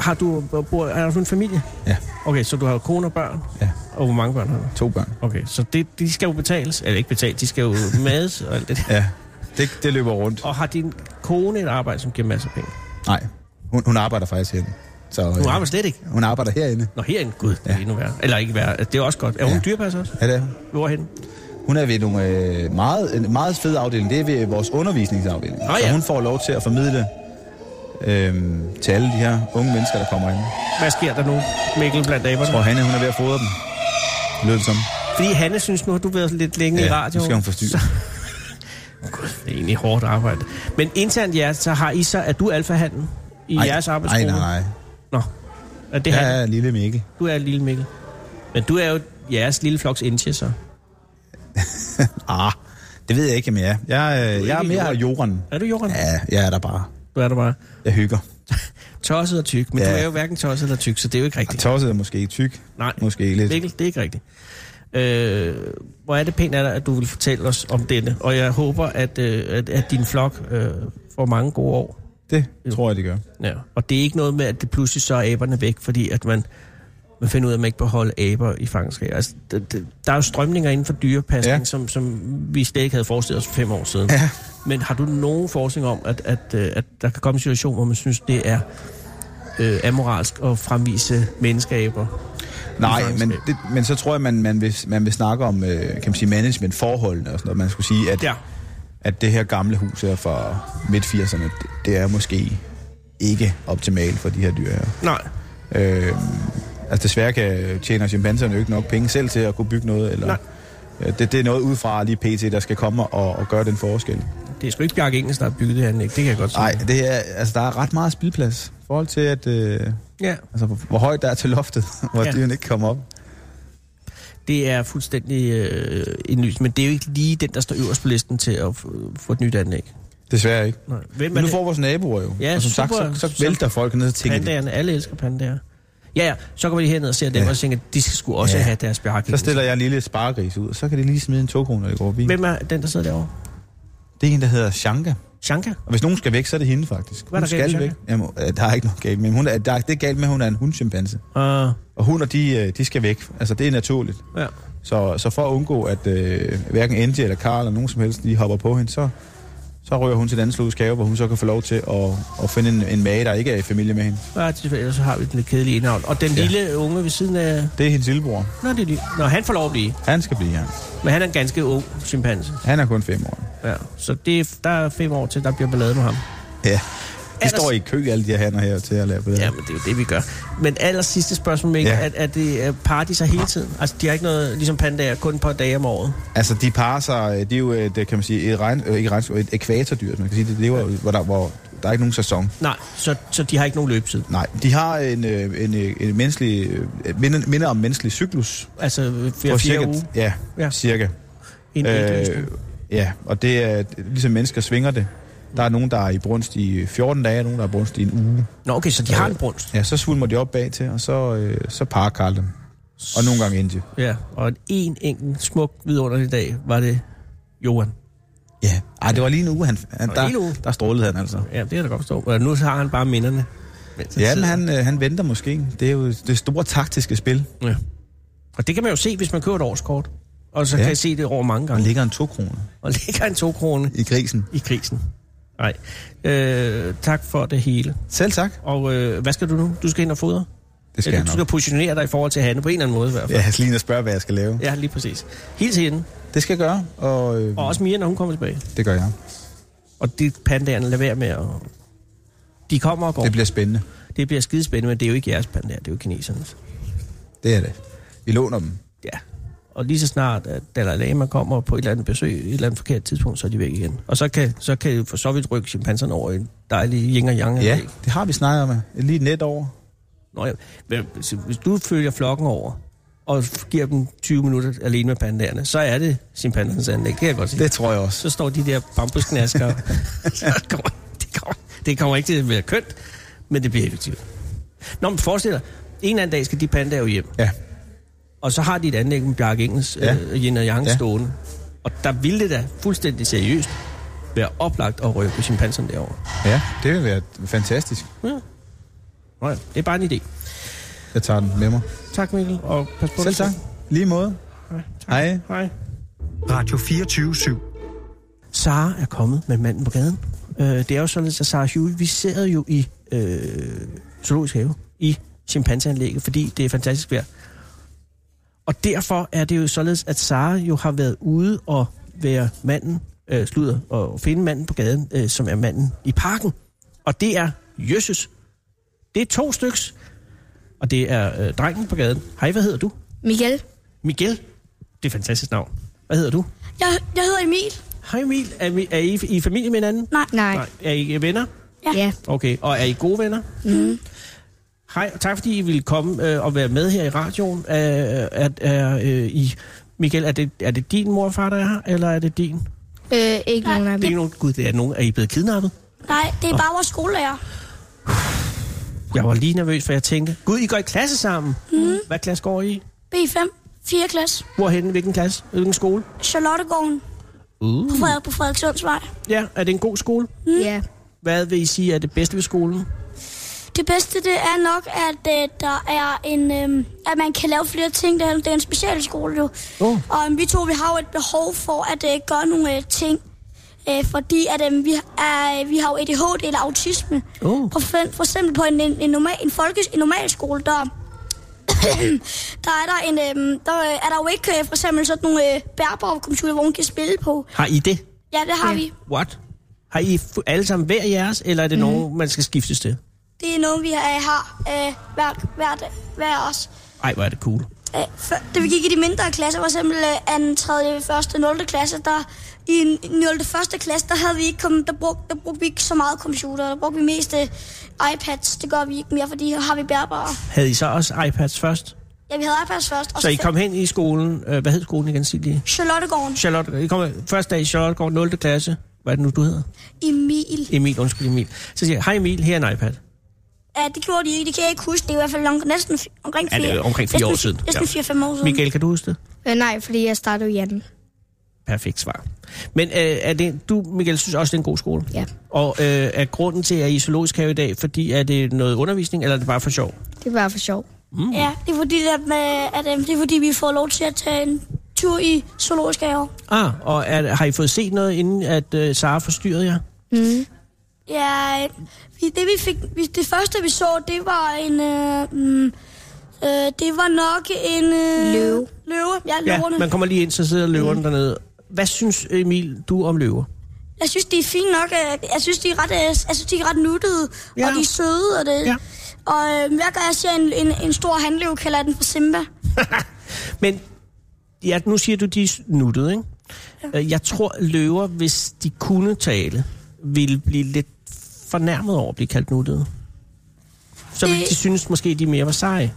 S3: Har du, bor, er du en familie?
S4: Ja,
S3: Okay, så du har jo kone og børn.
S4: ja.
S3: Og hvor mange børn har du?
S4: To børn.
S3: Okay, så det, de skal jo betales. Eller ikke betales, de skal jo mades og alt det der.
S4: Ja, det, det løber rundt.
S3: Og har din kone et arbejde, som giver masser af penge?
S4: Nej, hun, hun arbejder faktisk herinde. Så, øh,
S3: Hun arbejder slet ikke.
S4: hun arbejder herinde.
S3: Nå, herinde, gud, det er
S4: Ja.
S3: endnu værre. Eller ikke værre, det er også godt. Er hun
S4: Ja.
S3: ja. dyrepasser også?
S4: Ja, det er hun.
S3: Hvorhen?
S4: Hun er ved nogle øh, meget, en meget fed afdeling. Det er ved vores undervisningsafdeling.
S3: Nå ja.
S4: Så hun får lov til at formidle øh, til alle de her unge mennesker, der kommer ind. Jeg
S3: Hvad sker der nu, Mikkel, blandt aberne?
S4: tror, Hanne, hun er ved at fodre dem. Det Lød det som.
S3: Fordi Hanne synes nu, at du har været lidt længe i
S4: nu
S3: radioen.
S4: skal hun forstyrre.
S3: Gud, det er egentlig hårdt arbejde. Men internt ja, så har I så, at du alfahanden i
S4: Ej,
S3: jeres
S4: Nej,
S3: arbejdsgruppe?
S4: nej, nej.
S3: Nå, er det
S4: Jeg
S3: ja,
S4: er lille Mikkel.
S3: Du er lille Mikkel. Men du er jo jeres lille floks indtje, så.
S4: Ah, det ved jeg ikke, om jeg er. Jeg, øh, jeg er
S3: ikke
S4: mere jorden.
S3: Er du jorden? Ja.
S4: Ja, jeg er der bare.
S3: Du er der bare
S4: Jeg hygger.
S3: tosset og tyk, men ja.
S4: Ja.
S3: du er jo hverken tosset eller tyk, så det er jo ikke
S4: Og
S3: rigtigt.
S4: tosset er måske tyk.
S3: Nej,
S4: Måske lidt.
S3: Mikkel, det er ikke rigtigt. Øh, hvor er det pænt af dig, at du vil fortælle os om denne, og jeg håber, at, øh, at, at din flok øh, får mange gode år.
S4: Det tror jeg, det gør.
S3: Ja. Og det er ikke noget med, at det pludselig så er aberne væk, fordi at man, man finder ud af, at man ikke beholder aber i fangenskab. Altså, det, det, der er jo strømninger inden for dyrepasning, ja.
S4: Ja.
S3: som, som vi slet ikke havde forestillet os for fem år siden.
S4: Ja.
S3: Men har du nogen forskning om, at, at, øh, at der kan komme en situation, hvor man synes, det er øh, amoralsk at fremvise menneskeaber?
S4: Nej,
S3: fangenskab.
S4: men, det, men så tror jeg, man, man, vil, man vil snakke om øh, kan man sige, managementforholdene og sådan noget. Man skulle sige, at,
S3: Ja.
S4: at det her gamle hus her fra midt-80'erne, det, det er måske ikke optimalt for de her dyr her.
S3: Nej.
S4: Øh, altså desværre kan tjener chimpanserne jo ikke nok penge selv til at kunne bygge noget. Eller,
S3: Nej.
S4: Øh, det, det er noget udefra lige pt, der skal komme og, og gøre den forskel.
S3: Det er sgu ikke Bjarke Engels, der har bygget det her anlæg. Det kan jeg godt sige.
S4: Nej, det er, altså, der er ret meget spildplads i forhold til, at, øh,
S3: Ja.
S4: altså, hvor, hvor højt der er til loftet, [LAUGHS] hvor
S3: Ja.
S4: ja. dyrene ikke kommer op.
S3: Det er fuldstændig øh, indlysende, men det er jo ikke lige den, der står øverst på listen til at få- få et nyt anlæg.
S4: Desværre ikke.
S3: Nej. Hvem er
S4: Men nu
S3: det?
S4: får vores naboer jo.
S3: Ja,
S4: og som sagt,
S3: super-
S4: så, så
S3: som-
S4: vælter folk ned og tænker,
S3: Pandagerne, alle elsker pandager. Ja, ja, så går vi lige herned og ser dem, ja.
S4: Ja.
S3: og tænker, de skal sgu også ja.
S4: Ja.
S3: have deres bjarke.
S4: så stiller jeg en lille sparegris ud, og så kan de lige smide en to kroner, der går forbi.
S3: Hvem er den, der sidder derovre?
S4: Det er en, der hedder Shanka.
S3: Shanka?
S4: Og hvis nogen skal væk, så er det hende faktisk.
S3: Hvad er
S4: hun
S3: der galt
S4: skal
S3: med
S4: væk. Jamen, øh, der er ikke noget galt med hende. Hun er, der, er- det er galt med, at hun er en hundchimpanse.
S3: Uh,
S4: Og hunder, de, øh, de skal væk. Altså, det er naturligt.
S3: ja.
S4: Så, så for at undgå, at øh, hverken Andy eller Karl eller nogen som helst, de hopper på hende, så, så rører hun til den anden slutskave, hvor hun så kan få lov til at, at finde en, en mage, der ikke er i familie med hende.
S3: Ja, det- ellers så har vi den lidt kedelige indhavn. Og den ja.
S4: Ja.
S3: lille unge ved siden af...
S4: Det er hendes lillebror.
S3: Nå, det er lige... Nå, han får lov at blive.
S4: Han skal blive her.
S3: Men han er en ganske ung chimpanse.
S4: Han er kun fem år.
S3: Ja. Så det, er- der er fem år til, der bliver ballade med ham.
S4: Ja. Vi står i kø, alle de her hanner her, til at lave det
S3: Ja,
S4: her.
S3: men det er jo det, vi gør. Men aller sidste spørgsmål, Mikkel, ja.
S4: Ja.
S3: er, er det øh, parer de sig hele tiden? Altså, de har ikke noget, ligesom pandaer, kun et par dage om året.
S4: Altså, de parer sig, øh, det er jo, øh, det kan man sige, et, regn, øh, ikke regnskov, et ekvatordyr, hvis man kan sige, det lever, jo, hvor, der, hvor der er ikke nogen sæson.
S3: Nej, så, så de har ikke nogen løbetid.
S4: Nej, de har en, øh, en, øh, en menneskelig, øh, minde, minder om menneskelig cyklus.
S3: Altså, øh, hver fjerde uge.
S4: Ja,
S3: Ja.
S4: ja, cirka.
S3: En øh,
S4: Øh, ja, og det er, ligesom mennesker svinger det. Der er nogen, der er i brunst i 14 dage, og nogen, der er i brunst i en uge.
S3: Nå, okay, så de har en brunst.
S4: Ja, så svulmer de op bag til, og så, øh, så parer Karl dem. Og nogle gange Indie.
S3: Ja, og en, en enkelt smuk, vidunderlig dag var det Johan.
S4: Ja. Ej, det var lige en uge, han, han
S3: var lige en uge.
S4: der, der strålede han altså.
S3: Ja, det kan jeg da godt forstå. Og nu har han bare minderne. mens
S4: Ja, men
S3: sidder.
S4: han, øh, han venter måske. Det er jo det store taktiske spil.
S3: Ja. Og det kan man jo se, hvis man køber et årskort. Og så ja.
S4: Ja.
S3: kan jeg se det over mange
S4: Han
S3: gange.
S4: ligger en to kroner
S3: Og ligger en to krone
S4: i grisen.
S3: i krisen. Nej. Øh, tak for det hele.
S4: Selv tak.
S3: Og øh, hvad skal du nu? Du skal ind og fodre?
S4: Det skal
S3: Eller du
S4: jeg nok.
S3: skal positionere dig i forhold til Hanne på en eller anden måde i hvert fald.
S4: Ja, jeg skal lige ind og spørge, hvad jeg skal lave.
S3: Ja, ja lige præcis. Helt til hende.
S4: Det skal jeg gøre, og, øh,
S3: Og også Mia, når hun kommer tilbage.
S4: det gør jeg.
S3: Og de pandaerne lader være med at... De kommer og går.
S4: Det bliver spændende.
S3: det bliver skidespændende, men det er jo ikke jeres pandaer, det er jo kinesernes.
S4: Det er det. Vi låner dem.
S3: Ja. Og lige så snart, at Dalai Lama kommer på et eller andet besøg, et eller andet forkert tidspunkt, så er de væk igen. Og så kan, så kan for så vidt rykke chimpanserne over i en dejlig yin og yang.
S4: Ja,
S3: anlæg.
S4: det har vi snakket om. Lige et net over.
S3: Nå, ja. Men hvis- Hvis du følger flokken over, og giver dem 20 minutter alene med pandaerne, så er det chimpansernes anlæg, det kan jeg godt sige.
S4: Det tror jeg også.
S3: så står de der
S4: [LAUGHS]
S3: bambusknasker. så kommer, det, kommer, det kommer ikke til at være kønt, men det bliver effektivt. Nå, men forestil dig, en eller anden dag skal de pandaer jo hjem,
S4: Ja,
S3: og så har de et anlæg med Bjarke Engels ja.
S4: Ja.
S3: øh, yin og yang ja.
S4: Ja.
S3: stående. Og der ville det da fuldstændig seriøst være oplagt at rykke chimpanserne derover.
S4: ja det vil være fantastisk.
S3: Ja. Nå ja, det er bare en idé.
S4: Jeg tager den med mig.
S3: Tak Mikkel, og pas på
S4: Selv
S3: dig.
S4: tak. Lige måde. Hej.
S3: Hej.
S1: Radio 24 /7.
S3: Sara er kommet med manden på gaden. Øh, det er jo således, at Sara Huey, vi sidder jo i øh, zoologisk have, i chimpanseanlægget, fordi det er fantastisk vejr. Og derfor er det jo således, at Sara jo har været ude og være manden, øh, slutter, og finde manden på gaden, øh, som er manden i parken. Og det er Jøsses. Det er to styks. Og det er øh, drengen på gaden. Hej, hvad hedder du?
S5: Miguel.
S3: Miguel. Det er et fantastisk navn. Hvad hedder du?
S5: Jeg, jeg hedder Emil.
S3: Hej Emil. Er, vi, er I i familie med hinanden?
S5: Nej. Nej.
S3: Nej. Er I venner?
S5: Ja. ja.
S3: Okay. Og er I gode venner? Mm. Hej, og tak fordi I ville komme øh, og være med her i radioen. Øh, er, er, øh, I, Michael, er det, er det din mor og far, der er her, eller er det din? Det
S5: Øh, ikke nogen af
S3: er
S5: dem.
S3: ikke nogen. Gud, det er nogen. Er I blevet kidnappet?
S6: Nej, det er bare vores skolelærer.
S3: Jeg var lige nervøs, for jeg tænkte, Gud, I går i klasse sammen. Mm. Hvad klasse går I i?
S6: B5, 4. klasse.
S3: Hvorhen? Hvilken klasse? Hvilken skole?
S6: Charlottegården
S3: Uh.
S6: på, Frederik, på Frederikssundsvej.
S3: Ja, er det en god skole?
S5: Ja.
S3: Hvad vil I sige er det bedste ved skolen?
S6: Det bedste det er nok, at øh, der er en, øh, at man kan lave flere ting. Det er, det er en specialskole jo.
S3: Åh.
S6: Og øh, vi to vi har jo et behov for at øh, gøre nogle øh, ting. Øh, fordi at, øh, vi, er, vi har jo ADHD eller autisme.
S3: Åh.
S6: For, fem- for eksempel på en, en, en, normal, en, folke, en normal skole, der, [CLEARS THROAT] der er der en, øh, der øh, er der jo ikke øh, for eksempel sådan nogle øh, bærbare computer, hvor man kan spille på.
S3: Har I det?
S6: Ja, det har ja. vi.
S3: What? Har I fu- alle sammen hver jeres, eller er det mm. nogen, man skal skiftes til?
S6: Det er noget, vi har, har øh, hver, hver, dag- hver os.
S3: Ej, hvor er det cool.
S6: Øh, før, da vi gik i de mindre klasser, for eksempel øh, 2., 3., 1., 0. klasse, der i en- i 0. 1. klasse, der havde vi ikke kommet, der brugte, der brugte vi ikke så meget computer. Der brugte vi mest øh, iPads. Det gør vi ikke mere, fordi her har vi bærbare.
S3: Havde I så også iPads først?
S6: Ja, vi havde iPads først. Og
S3: Så I
S6: fa-
S3: kom hen i skolen, øh, hvad hed skolen igen, sig lige?
S6: Charlottegården.
S3: Charlotte, I kom første dag i Charlottegård, 0. klasse. Hvad er det nu, du hedder?
S6: Emil.
S3: Emil, undskyld Emil. Så siger jeg, hej Emil, her er en iPad.
S6: Ja, det gjorde de ikke. Det kan jeg ikke huske. Det er i hvert fald lang, næsten fi- omkring
S3: Ja,
S6: fire,
S3: det er omkring fire år
S6: næsten-
S3: siden.
S6: Næsten
S3: Ja.
S6: 4-5 år siden.
S3: Michael, kan du huske det?
S5: Øh, nej, fordi jeg startede i anden.
S3: Perfekt svar. Men øh, er det, du, Michael, synes også, det er en god skole?
S5: Ja.
S3: Og øh, er grunden til, at I er i zoologisk have i dag, fordi er det noget undervisning, eller er det bare for sjov?
S5: Det var for sjov.
S6: Ja, det er fordi, at, øh, at, øh, det er fordi vi får lov til at tage en tur i zoologisk have.
S3: Ah, og er, har I fået set noget, inden at øh, Sara forstyrrede jer?
S6: Ja, øh, vi- det vi fik, vi- det første vi så, det var en, øh, mm, øh, det var nok en øh,
S5: Løve.
S6: løve. Ja,
S3: Ja,
S6: løverne.
S3: man kommer lige ind, så sidder løverne mm. dernede. Hvad synes Emil, du om løver?
S6: Jeg synes, de er fine nok. øh, Jeg synes, de er ret, øh, jeg synes, de er ret nuttede,
S3: Ja.
S6: ja. og de er søde. Og, det.
S3: Ja.
S6: Ja. og øh, hver gang jeg ser en, en, en stor handlev, kalder jeg den for Simba.
S3: Men ja, nu siger du, de er nuttede, ikke? Ja. Jeg tror, løver, hvis de kunne tale, ville blive lidt fornærmet over at blive kaldt nuttede. Så ville
S6: Det-
S3: de synes måske, de mere var seje.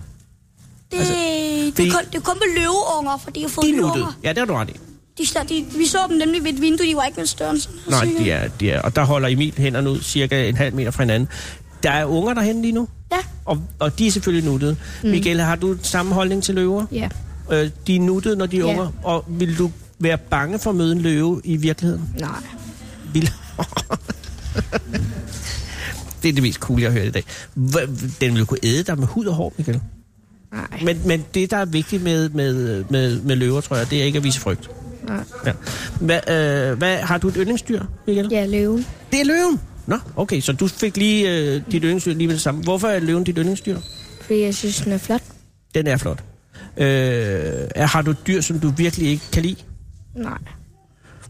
S6: Det,
S3: Altså,
S6: altså, det,
S3: det-
S6: det, er kun, det er kun med løveunger, for de har fået
S3: De er nuttede.
S6: løveunger.
S3: Ja, det har du ret i.
S6: De, står- de, vi så dem nemlig ved et vindue, de var ikke med større.
S3: Nej, de er, de er. Og der holder Emil hænderne ud cirka en halv meter fra hinanden. Der er unger derhen lige nu,
S6: Ja,
S3: og, og de er selvfølgelig nuttede. Mm. Michael, har du samme holdning til løver?
S5: Ja.
S3: Øh, de er nuttede, når de er
S5: Ja.
S3: unger. Og vil du være bange for at møde en løve i virkeligheden?
S5: Nej.
S3: Vil... det er det mest cool, jeg har hørt i dag. Hva- Den ville kunne æde dig med hud og hår, Michael.
S5: Nej.
S3: Men, men det, der er vigtigt med, med, med, med løver, tror jeg, det er ikke at vise frygt.
S5: Nej.
S3: Ja. Hva, øh, hvad, har du et yndlingsdyr, Michael?
S5: Ja, løven.
S3: Det er løven. Nå, okay, så du fik lige øh, dit yndlingsdyr lige med det samme. Hvorfor er løven dit yndlingsdyr?
S5: Fordi jeg synes, den er flot.
S3: Den er flot. Øh, er- har du et dyr, som du virkelig ikke kan lide?
S5: Nej.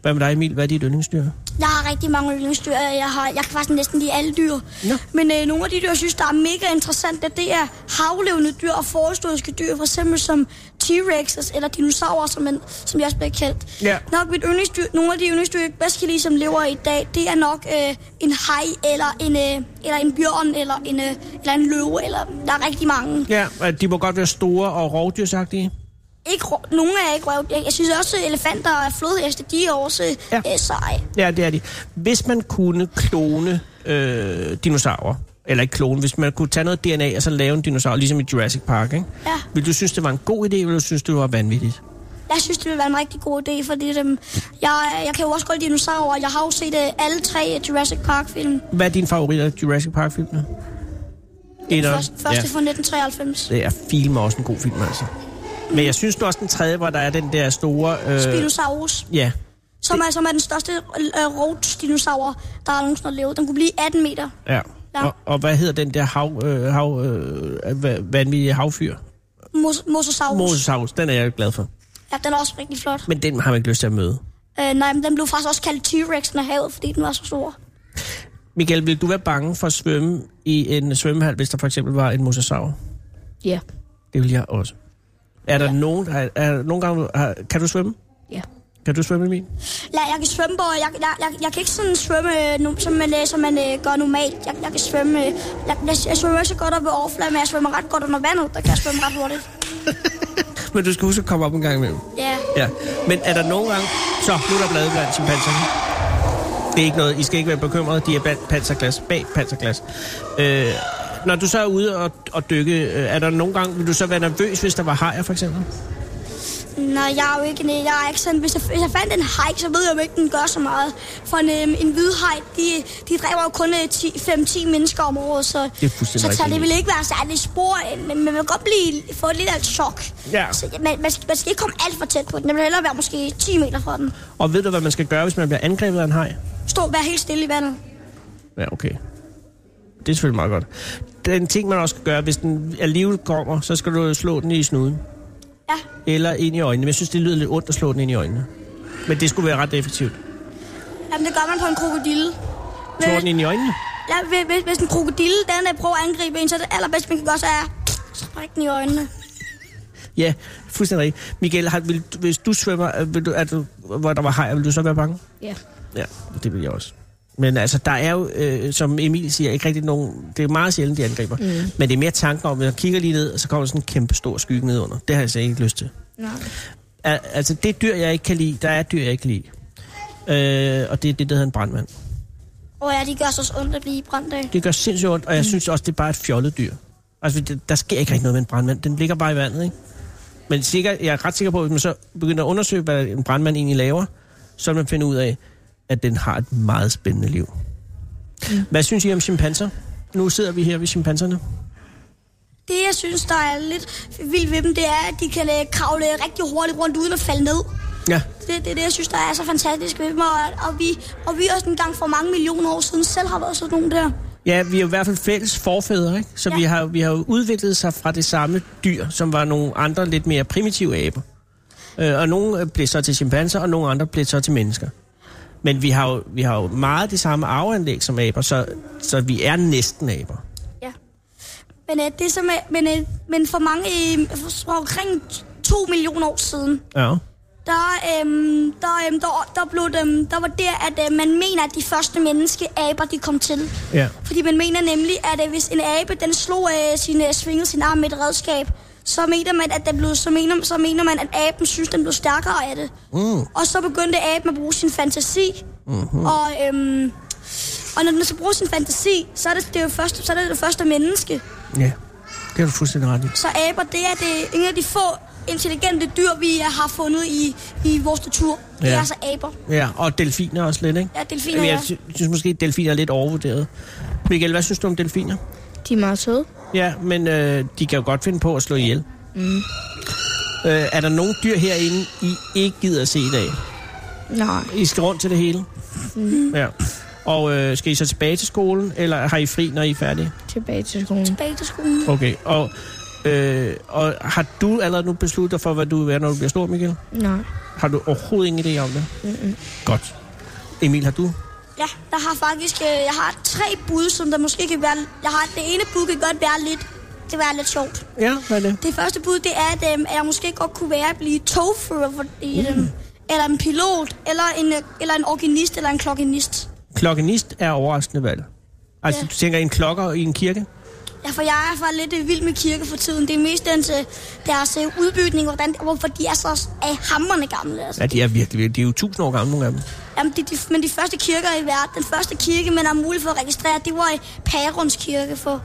S3: Hvad med dig, Emil? Hvad er dit yndlingsdyr?
S6: jeg har rigtig mange yndlingsdyr. Jeg, har, jeg kan faktisk næsten lide alle dyr.
S3: Nå.
S6: Men øh, nogle af de dyr, jeg synes, der er mega interessante, det er havlevende dyr og forhistoriske dyr, for eksempel som T-Rexes eller dinosaurer, som, man, som jeg også bliver kaldt.
S3: Ja.
S6: Nok mit yndlingsdyr, nogle af de yndlingsdyr, jeg bedst kan lide, som lever i dag, det er nok øh, en haj, eller en, øh, eller en bjørn, eller en, øh, eller en løve, eller der er rigtig mange.
S3: Ja, øh, de må godt være store og rovdyrsagtige.
S6: Ikke, rå- nogle er ikke røv. Jeg, jeg synes også, at elefanter og flodheste, de er også
S3: Ja.
S6: ja. øh, seje.
S3: Ja, det er de. Hvis man kunne klone øh, dinosaurer, eller ikke klone, hvis man kunne tage noget DNA og så lave en dinosaur, ligesom i Jurassic Park, ikke?
S6: Ja.
S3: Vil du synes, det var en god idé, eller du synes, det var vanvittigt?
S6: Jeg synes, det ville være en rigtig god idé, fordi øhm, jeg, jeg kan jo også godt lide dinosaurer. Jeg har jo set øh, alle tre Jurassic Park-film.
S3: Hvad er din favorit af Jurassic Park-filmene? Etteren?
S6: Først, første fra 1993.
S3: Det er film er også en god film, altså. Men jeg synes nu også den tredje, hvor der er den der store... Øh,
S6: Spinosaurus,
S3: ja,
S6: som er, som er den største øh, rovdinosaur, der har nogensinde levet. Den kunne blive 18 meter.
S3: ja.
S6: Ja.
S3: Og, og hvad hedder den der hav, øh, hav, øh, hva- vanvittige havfyr?
S6: Mos- Mosasaurus.
S3: Mosasaurus, den er jeg glad for.
S6: Ja, den er også rigtig flot.
S3: Men den har man ikke lyst til at møde.
S6: Øh, nej, men den blev faktisk også kaldt T-Rexen af havet, fordi den var så stor.
S3: Michael, vil du være bange for at svømme i en svømmehal, hvis der for eksempel var en mosasaur?
S5: Ja.
S3: Det vil jeg også. Er der ja. nogen, er, er, nogen gange, har, kan du svømme?
S5: Ja.
S3: Kan du svømme, Emil?
S6: Ja, jeg kan svømme, og jeg, jeg, jeg, jeg kan ikke sådan svømme, øh, nu, som man, øh, som man øh, gør normalt. Jeg, jeg kan svømme, øh, jeg, jeg, jeg svømmer ikke så godt op ved overfladen, men jeg svømmer ret godt under vandet. Der kan jeg svømme ret hurtigt.
S3: Men du skal huske at komme op en gang imellem.
S6: Ja.
S3: Ja, men er der nogle gange... Så, nu er der blade blandt chimpanserne. Det er ikke noget, I skal ikke være bekymrede. De er bag panserglas, bag panserglas. Øh, når du så er ude og, og dykke, øh, er der nogle gange, vil du så være nervøs, hvis der var hajer for eksempel?
S6: Nej, jeg er jo ikke, nej, jeg er ikke sådan. Hvis jeg, hvis jeg fandt en haj, så ved jeg jo ikke, den gør så meget. For en, øhm, en hvid haj, de, de dræber jo kun øh, 10 5-10 mennesker om året, så,
S3: Det er fuldstændig
S6: så tager
S3: rigtigt.
S6: det vil ikke være særlig spor, ind, men men man kan godt blive, få lidt af et chok.
S3: Ja.
S6: Så, man, man, skal, man skal ikke komme alt for tæt på den. Jeg vil hellere være måske 10 meter fra den.
S3: Og ved du, hvad man skal gøre, hvis man bliver angrebet af en haj?
S6: Stå og være helt stille i vandet.
S3: Ja, okay. Det er selvfølgelig meget godt. Den ting, man også skal gøre, hvis den alligevel kommer, så skal du slå den i snuden.
S6: Ja.
S3: Eller ind i øjnene. Men jeg synes, det lyder lidt ondt at slå den ind i øjnene. Men det skulle være ret effektivt.
S6: Jamen, det gør man på en krokodille.
S3: Slå den ind i øjnene?
S6: ja, hvis- hvis, hvis en krokodille, den øh, prøver at angribe en, så er det allerbedste, man kan gøre, så er så bræk den i øjnene.
S3: Ja, fuldstændig rigtigt. Michael, har, vil, du- hvis du svømmer, øh, vil du, er du, hvor der var hajer, vil du så være bange?
S5: Ja.
S3: Ja, det vil jeg også. Men altså, der er jo, øh, som Emil siger, ikke rigtig nogen... Det er meget sjældent, de angriber. Mm. Men det er mere tanker om, at jeg kigger lige ned, og så kommer der sådan en kæmpe stor skygge ned under. Det har jeg altså ikke lyst til.
S5: Nej.
S3: Al- altså, det dyr, jeg ikke kan lide, der er dyr, jeg ikke kan lide. Øh, og det er det, der hedder en brandmand.
S6: Og ja, de gør så ondt at blive brændt af.
S3: Det gør sindssygt ondt, og jeg synes også, det er bare et fjollet dyr. Altså, det, der sker ikke rigtig noget med en brandmand. Den ligger bare i vandet, ikke? Men sikker, jeg er ret sikker på, at hvis man så begynder at undersøge, hvad en brandmand egentlig laver, så vil man finde ud af, at den har et meget spændende liv. Mm. Hvad synes I om chimpanser? Nu sidder vi her ved chimpanserne.
S6: Det, jeg synes, der er lidt vildt ved dem, det er, at de kan øh, kravle rigtig hurtigt rundt uden at falde ned.
S3: Ja,
S6: Det er det, er det, jeg synes, der er så fantastisk ved dem, og, og, vi, og vi også engang for mange millioner år siden selv har været sådan nogle der.
S3: Ja, vi er jo i hvert fald fælles forfædre, ikke? Så ja.
S6: Ja.
S3: vi, har, vi har jo udviklet sig fra det samme dyr, som var nogle andre lidt mere primitive aber. Øh, og nogle øh, blev så til chimpanser, og nogle andre blev så til mennesker. Men vi har jo, vi har jo meget de samme arveanlæg som aber, så, så vi er næsten aber.
S6: Ja. Men, øh, det som er, men, øh, men for mange, øh, for omkring 2 millioner år siden,
S3: Ja.
S6: der, øhm, der, øhm, der, der, blev dem, der var der, at øh, man mener, at de første menneskeaber, de kom til.
S3: Ja.
S6: Fordi man mener nemlig, at øh, hvis en abe, den slog øh, sin, øh, svingede sin arm med et redskab, så mener man, at den blev, så mener, så mener man, at aben synes, den blev stærkere af det.
S3: Mm. Mhm.
S6: Og så begyndte aben at bruge sin fantasi. Mm-hmm. Og, øhm, og når den så bruger sin fantasi, så er det det, er jo første, så er det, det første menneske.
S3: Ja, det har du fuldstændig ret i.
S6: Så aber, det er det en af de få intelligente dyr, vi har fundet i, i vores natur. Det
S3: Ja.
S6: er altså aber.
S3: Ja, og delfiner også lidt, ikke?
S6: Ja, delfiner
S3: Jeg
S6: er.
S3: sy- synes måske, at delfiner er lidt overvurderet. Michael, hvad synes du om delfiner?
S5: De er meget søde.
S3: Ja, men øh, de kan jo godt finde på at slå ihjel. Mm. Øh, er der nogen dyr herinde, I ikke gider at se i dag?
S5: Nej.
S3: I skal rundt til det hele? Mm. Ja. Og øh, skal I så tilbage til skolen, eller har I fri, når I er færdige?
S5: Tilbage til skolen.
S6: Tilbage til skolen.
S3: Okay, og, øh, og har du allerede nu besluttet dig for, hvad du vil være, når du bliver stor, Michael?
S5: Nej.
S3: Har du overhovedet ingen idé om det? Mm-mm. Godt. Emil, har du?
S6: Ja, der har faktisk, øh, jeg har tre bud, som der måske kan være, jeg har, det ene bud kan godt være lidt, det være lidt sjovt.
S3: Ja, hvad er det?
S6: Det første bud, det er, at, øhm, at jeg måske godt kunne være at blive togfører, fordi, mm. øhm, eller en pilot, eller en, øh, eller en organist, eller en klokkenist.
S3: Klokkenist er overraskende valg. Altså, ja.
S6: Ja.
S3: du tænker en klokker i en kirke?
S6: Ja, for jeg er for lidt øh, vild med kirke for tiden. Det er mest den til deres øh, udbygning, hvordan, hvorfor de er så af hammerne gamle. Altså.
S3: Ja, de er virkelig, virkelig. De er jo tusind år gamle, nogle af dem.
S6: Jamen, de, de, men de første kirker i verden, den første kirke, man har mulighed for at registrere, det var i Pagerunds kirke for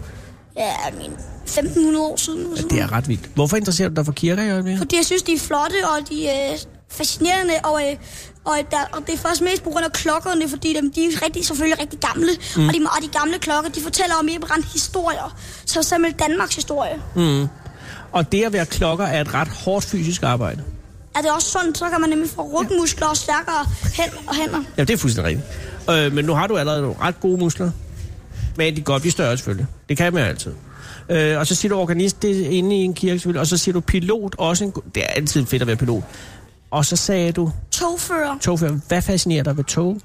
S6: ja, I mean, 1500 år siden. eller sådan
S3: Det er ret vildt. Hvorfor interesserer du dig for kirker i øjeblikket?
S6: Fordi jeg synes, de er flotte, og de er øh, fascinerende, og, øh, og, der, og det er først mest på grund af klokkerne, fordi dem, de er rigtig, selvfølgelig rigtig gamle, mm. og, de, og de gamle klokker, de fortæller om Eberand historier, så simpelthen Danmarks historie. Mm.
S3: Og det at være klokker er et ret hårdt fysisk arbejde.
S6: Er det også sundt, så kan man nemlig få rygmuskler og stærkere hænder og hænder.
S3: Ja, det er fuldstændig rigtigt. Øh, men nu har du allerede nogle ret gode muskler. Men de kan godt blive større, selvfølgelig. Det kan man altid. Øh, og så siger du organist, det er inde i en kirke, selvfølgelig. Og så siger du pilot, også en... go- Det er altid fedt at være pilot. Og så sagde du,
S6: Togfører.
S3: togfører, hvad fascinerer dig ved tog?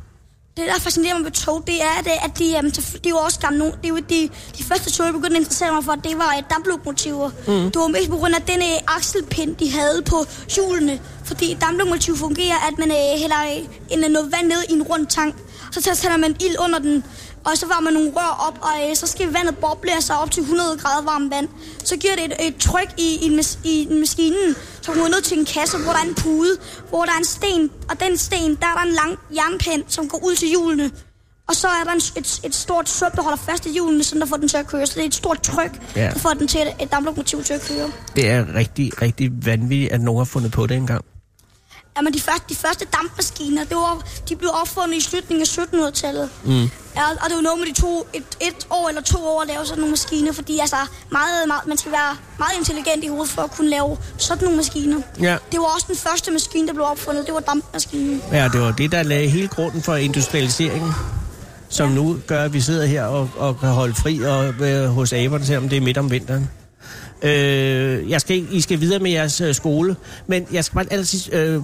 S6: Det, der fascinerer mig ved tog, det er, at, øh, at de, øhm, så- de er jo også gamle nogen. Det er jo de, de første tog, jeg begyndte at interessere mig for, det var øh, damplokomotiver. Mm. Det var mest på grund af den øh, akselpind, de havde på hjulene. Fordi et damplokomotiv fungerer, at man øh, hælder øh, en, øh, noget vand ned i en rund tank. Så tager- tænder man ild under den, og så varmer man nogle rør op, og øh, så skal vandet boble sig op til 100 grader varmt vand. Så giver det et, et tryk i, i, en mas- i en maskinen, så går ned til en kasse, hvor der er en pude, hvor der er en sten, og den sten, der er der en lang jernpind, som går ud til hjulene. Og så er der en, s- et, et stort sup, der holder fast i hjulene, sådan der får den til at køre. Så det er et stort tryk,
S3: Ja.
S6: ja. der får den til at, et damplokomotiv til at køre.
S3: Det er rigtig, rigtig vanvittigt, at nogen har fundet på det engang.
S6: Jamen, de første, de første dampmaskiner, det var, de blev opfundet i slutningen af 1700-tallet. Mm. Ja, og det var noget med de to, et, et år eller to år at lave sådan nogle maskiner, fordi altså, meget, meget, man skal være meget intelligent i hovedet for at kunne lave sådan nogle maskiner.
S3: Ja.
S6: Det var også den første maskine, der blev opfundet, det var dampmaskinen.
S3: Ja, det var det, der lagde hele grunden for industrialiseringen, som nu gør, at vi sidder her og, og kan holde fri og, øh, hos aberne, selvom det er midt om vinteren. Øh, jeg skal, ikke- I skal videre med jeres øh, skole, men jeg skal bare allersidst... Øh,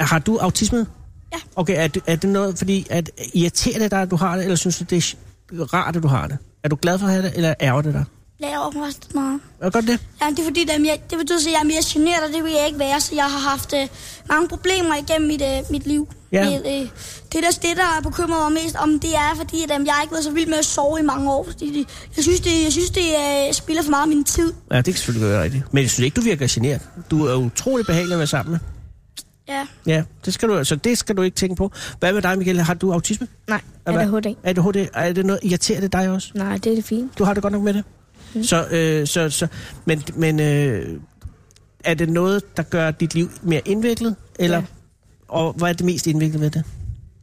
S3: har du autisme?
S6: Ja.
S3: Okay, er, det- er det noget, fordi at irriterer det dig, at du har det, eller synes du, det er sj- rart, at du har det? Er du glad for at have det, eller ærger det dig?
S6: Laver mig ret meget.
S3: Er det godt det?
S6: Ja, det er fordi, det, er mere, det betyder, at jeg er mere generet, og det vil jeg ikke være, så jeg har haft øh, mange problemer igennem mit, øh, mit liv.
S3: Ja.
S6: Med, øh, det, der, det, der bekymrer mig mest om, det er, fordi at, øh, jeg har ikke været så vild med at sove i mange år. Fordi det, jeg synes, det, jeg synes, det øh, spiller for meget af min tid.
S3: Ja, det kan selvfølgelig være rigtigt. Men jeg synes ikke, du virker generet. Du er utrolig behagelig at være sammen med.
S6: Ja.
S3: Ja, det skal du, så det skal du ikke tænke på. Hvad med dig, Michael? Har du autisme?
S5: Nej. Er
S3: Eller
S5: det
S3: hvad?
S5: HD?
S3: ADHD? Er det noget, irriterer det dig også?
S5: Nej, det er det fint.
S3: Du har det godt nok med det? Mm. Så, øh, så, så, men men øh, er det noget, der gør dit liv mere indviklet? Eller, ja.
S5: Ja.
S3: Og hvad er det mest indviklet ved det?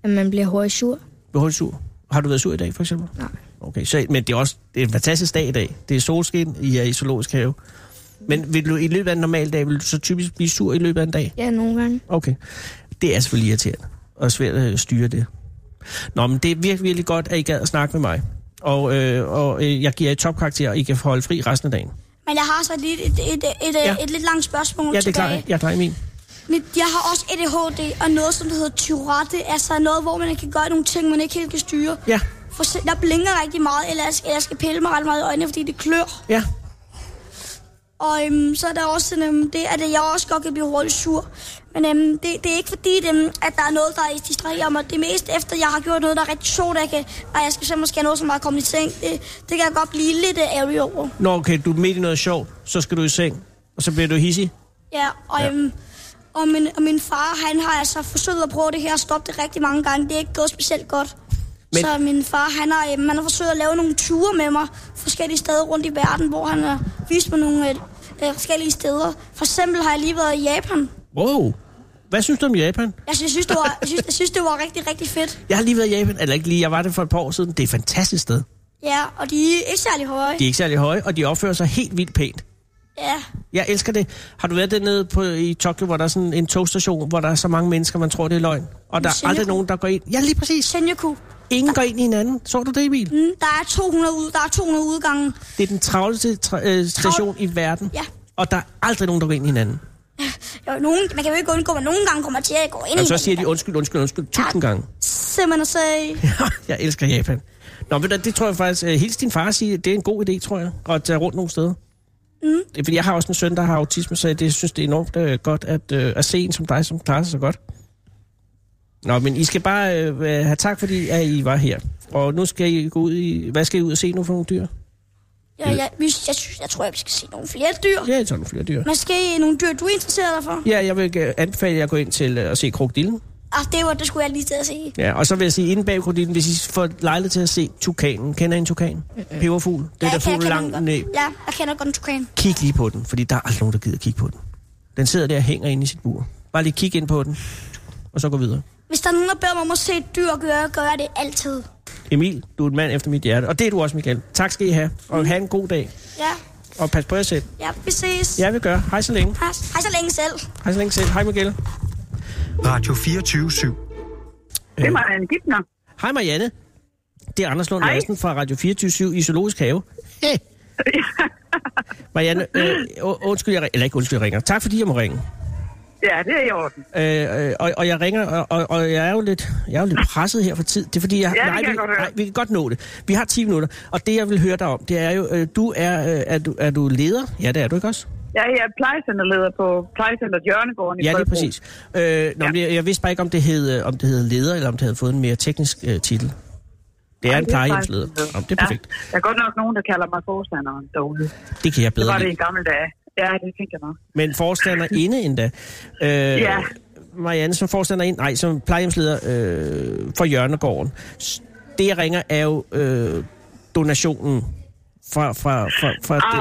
S5: At man bliver hurtigt sur.
S3: Ved hurtigt sur? Har du været sur i dag, for eksempel?
S5: Nej.
S3: Okay, så, men det er også det er en fantastisk dag i dag. Det er solskin, I er i zoologisk have. Men vil du i løbet af en normal dag, vil du så typisk blive sur i løbet af en dag?
S5: Ja, nogle gange.
S3: Okay. Det er selvfølgelig irriterende, og svært at styre det. Nå, men det er virkelig, virkelig godt, at I gad at snakke med mig. Og, øh, og øh, jeg giver jer topkarakter, og I kan holde fri resten af dagen.
S6: Men jeg har så lidt et, et, et, et,
S3: Ja.
S6: ja. et lidt langt spørgsmål
S3: Ja, det er
S6: tilbage.
S3: klart. Jeg er dig, min.
S6: Men jeg har også ADHD og noget, som der hedder Tourette. Altså noget, hvor man kan gøre nogle ting, man ikke helt kan styre.
S3: Ja,
S6: For se- jeg blinker rigtig meget, eller jeg skal, jeg skal pille mig ret meget i øjnene, fordi det klør.
S3: ja.
S6: Og øhm, så er der også sådan, øhm, det, at jeg også godt kan blive hurtigt sur. Men øhm, det, det er ikke fordi, øhm, at der er noget, der distraherer mig. Det er mest efter, jeg har gjort noget, der er rigtig sjovt, at jeg, kan, og jeg skal så måske have noget, som er kommet i seng. Det, det kan jeg godt blive lidt øh, ærgerlig over.
S3: Nå, okay, du er midt i noget sjovt, så skal du i seng, og så bliver du hissig.
S6: Ja, og, ja. Øhm, og, min, og min far, han har altså forsøgt at prøve det her og stoppe det rigtig mange gange. Det er ikke gået specielt godt.
S3: Men-
S6: Men... Så min far, han har, øhm, han har forsøgt at lave nogle ture med mig forskellige steder rundt i verden, hvor han har vist mig nogle øh, øh, forskellige steder. For eksempel har jeg lige været i Japan.
S3: Wow. Hvad synes du om Japan?
S6: Jeg synes, Altså, jeg synes, det var, jeg synes, jeg synes, det var rigtig, rigtig fedt.
S3: Jeg har lige været i Japan, eller ikke lige, jeg var det for et par år siden. Det er et fantastisk sted.
S6: Ja, og de er ikke særlig høje.
S3: De er ikke særlig høje, og de opfører sig helt vildt pænt.
S6: Ja,
S3: Jeg elsker det. Har du været dernede på, i Tokyo, hvor der er sådan en togstation, hvor der er så mange mennesker, man tror, det er løgn? Og der er
S6: Shinjuku.
S3: aldrig nogen, der går ind. Ja, lige præcis.
S6: Senjaku.
S3: Ingen går ind i hinanden. Så du det, Emil?
S6: Mm, der er 200 ud, der er 200 udgange.
S3: Det er den travleste tra- øh, station i verden.
S6: Ja.
S3: Og der er aldrig nogen, der går ind i hinanden.
S6: Jo, nogen, man kan jo ikke undgå, at nogle gange kommer til at gå ind
S3: Og
S6: i
S3: Altså, så
S6: den.
S3: siger de undskyld, undskyld, undskyld tusind gange.
S6: Simpelthen og sagde,
S3: [LAUGHS] jeg elsker Japan. Nå, men det tror jeg faktisk, øh, hils din far og sige, det er en god idé, tror jeg, at tage rundt nogle steder. Mm. Det er, fordi jeg har også en søn, der har autisme, så jeg det, synes, det er enormt øh, godt at, øh, at se en som dig, som klarer sig så godt. Nå, men I skal bare øh, have tak, fordi at I var her. Og nu skal I gå ud i... Hvad skal I ud og se nu for nogle dyr?
S6: ja, jeg, jeg, jeg, synes, jeg tror, jeg skal se nogle flere dyr.
S3: Ja, så er nogle flere dyr.
S6: Måske nogle dyr, du er interesseret dig for?
S3: Ja, jeg vil øh, anbefale jer at gå ind til øh, at se krokodillen.
S6: Ah, det var, det skulle jeg lige til at sige.
S3: Ja, og så vil jeg sige, inden bag krokodillen, hvis I får lejlighed til at se tukanen. Kender I en tukan? Peberfugl. Det er
S6: Øh, ja,
S3: der
S6: jeg kan- jeg
S3: fugl
S6: kender
S3: langt
S6: den
S3: næb.
S6: godt. Ja, jeg kender godt en tukan.
S3: kig lige på den, fordi der er aldrig nogen, der gider kigge på den. Den sidder der og hænger inde i sit bur. Bare lige kig ind på den, og så gå videre.
S6: Hvis der er nogen, der beder mig om at se et dyr, gør jeg, gør jeg det altid.
S3: Emil, du er en mand efter mit hjerte, og det er du også, Michael. Tak skal I have, og have en god dag,
S6: Ja,
S3: og pas på jer selv.
S6: ja, vi ses.
S3: Jeg vil gøre. Hej så længe.
S6: Hej, hej så længe selv.
S3: Hej så længe selv. Hej Michael.
S1: Radio 24
S7: Det er Marianne Gibner.
S3: Hej Marianne. Det er Anders Lund
S7: Hej.
S3: Madsen fra Radio 24 i Zoologisk Have. Hey. Marianne, øh, u- undskyld, jeg, ri- eller ikke undskyld, jeg ringer. Tak fordi jeg må ringe.
S7: Ja, det er i orden.
S3: Øh, øh, og, og jeg ringer, og, og, og jeg er jo lidt, jeg er jo lidt presset her for tid. Det er fordi, jeg,
S7: Ja, det
S3: nej,
S7: kan jeg
S3: vi,
S7: godt høre.
S3: nej, vi kan godt nå det. Vi har 10 minutter, og det jeg vil høre dig om, det er jo, øh, du er, øh, er, du, er du leder? Ja, det er du ikke også?
S7: Jeg er plejecenterleder på plejecenter Jørnegården i
S3: Ja, lige
S7: Frederiksberg.
S3: præcis. Øh, nå,
S7: Ja.
S3: men jeg, jeg vidste bare ikke, om det hed, øh, om det hed leder, eller om det havde fået en mere teknisk øh, titel. Det er en plejehjemsleder. Nå, det er perfekt.
S7: Ja, der er godt nok nogen, der kalder mig forstanderen derude.
S3: Det kan jeg
S7: Det
S3: bedre
S7: var det
S3: lide.
S7: i gamle dage. Ja, det tænker jeg nok.
S3: Men
S7: [LAUGHS]
S3: forstander inde endda. Øh,
S7: Ja.
S3: Marianne, som forstander ind, nej, som plejehjemsleder øh, for Jørnegården. S- Det, jeg ringer, er jo øh, donationen fra... fra, fra, fra
S7: Arven.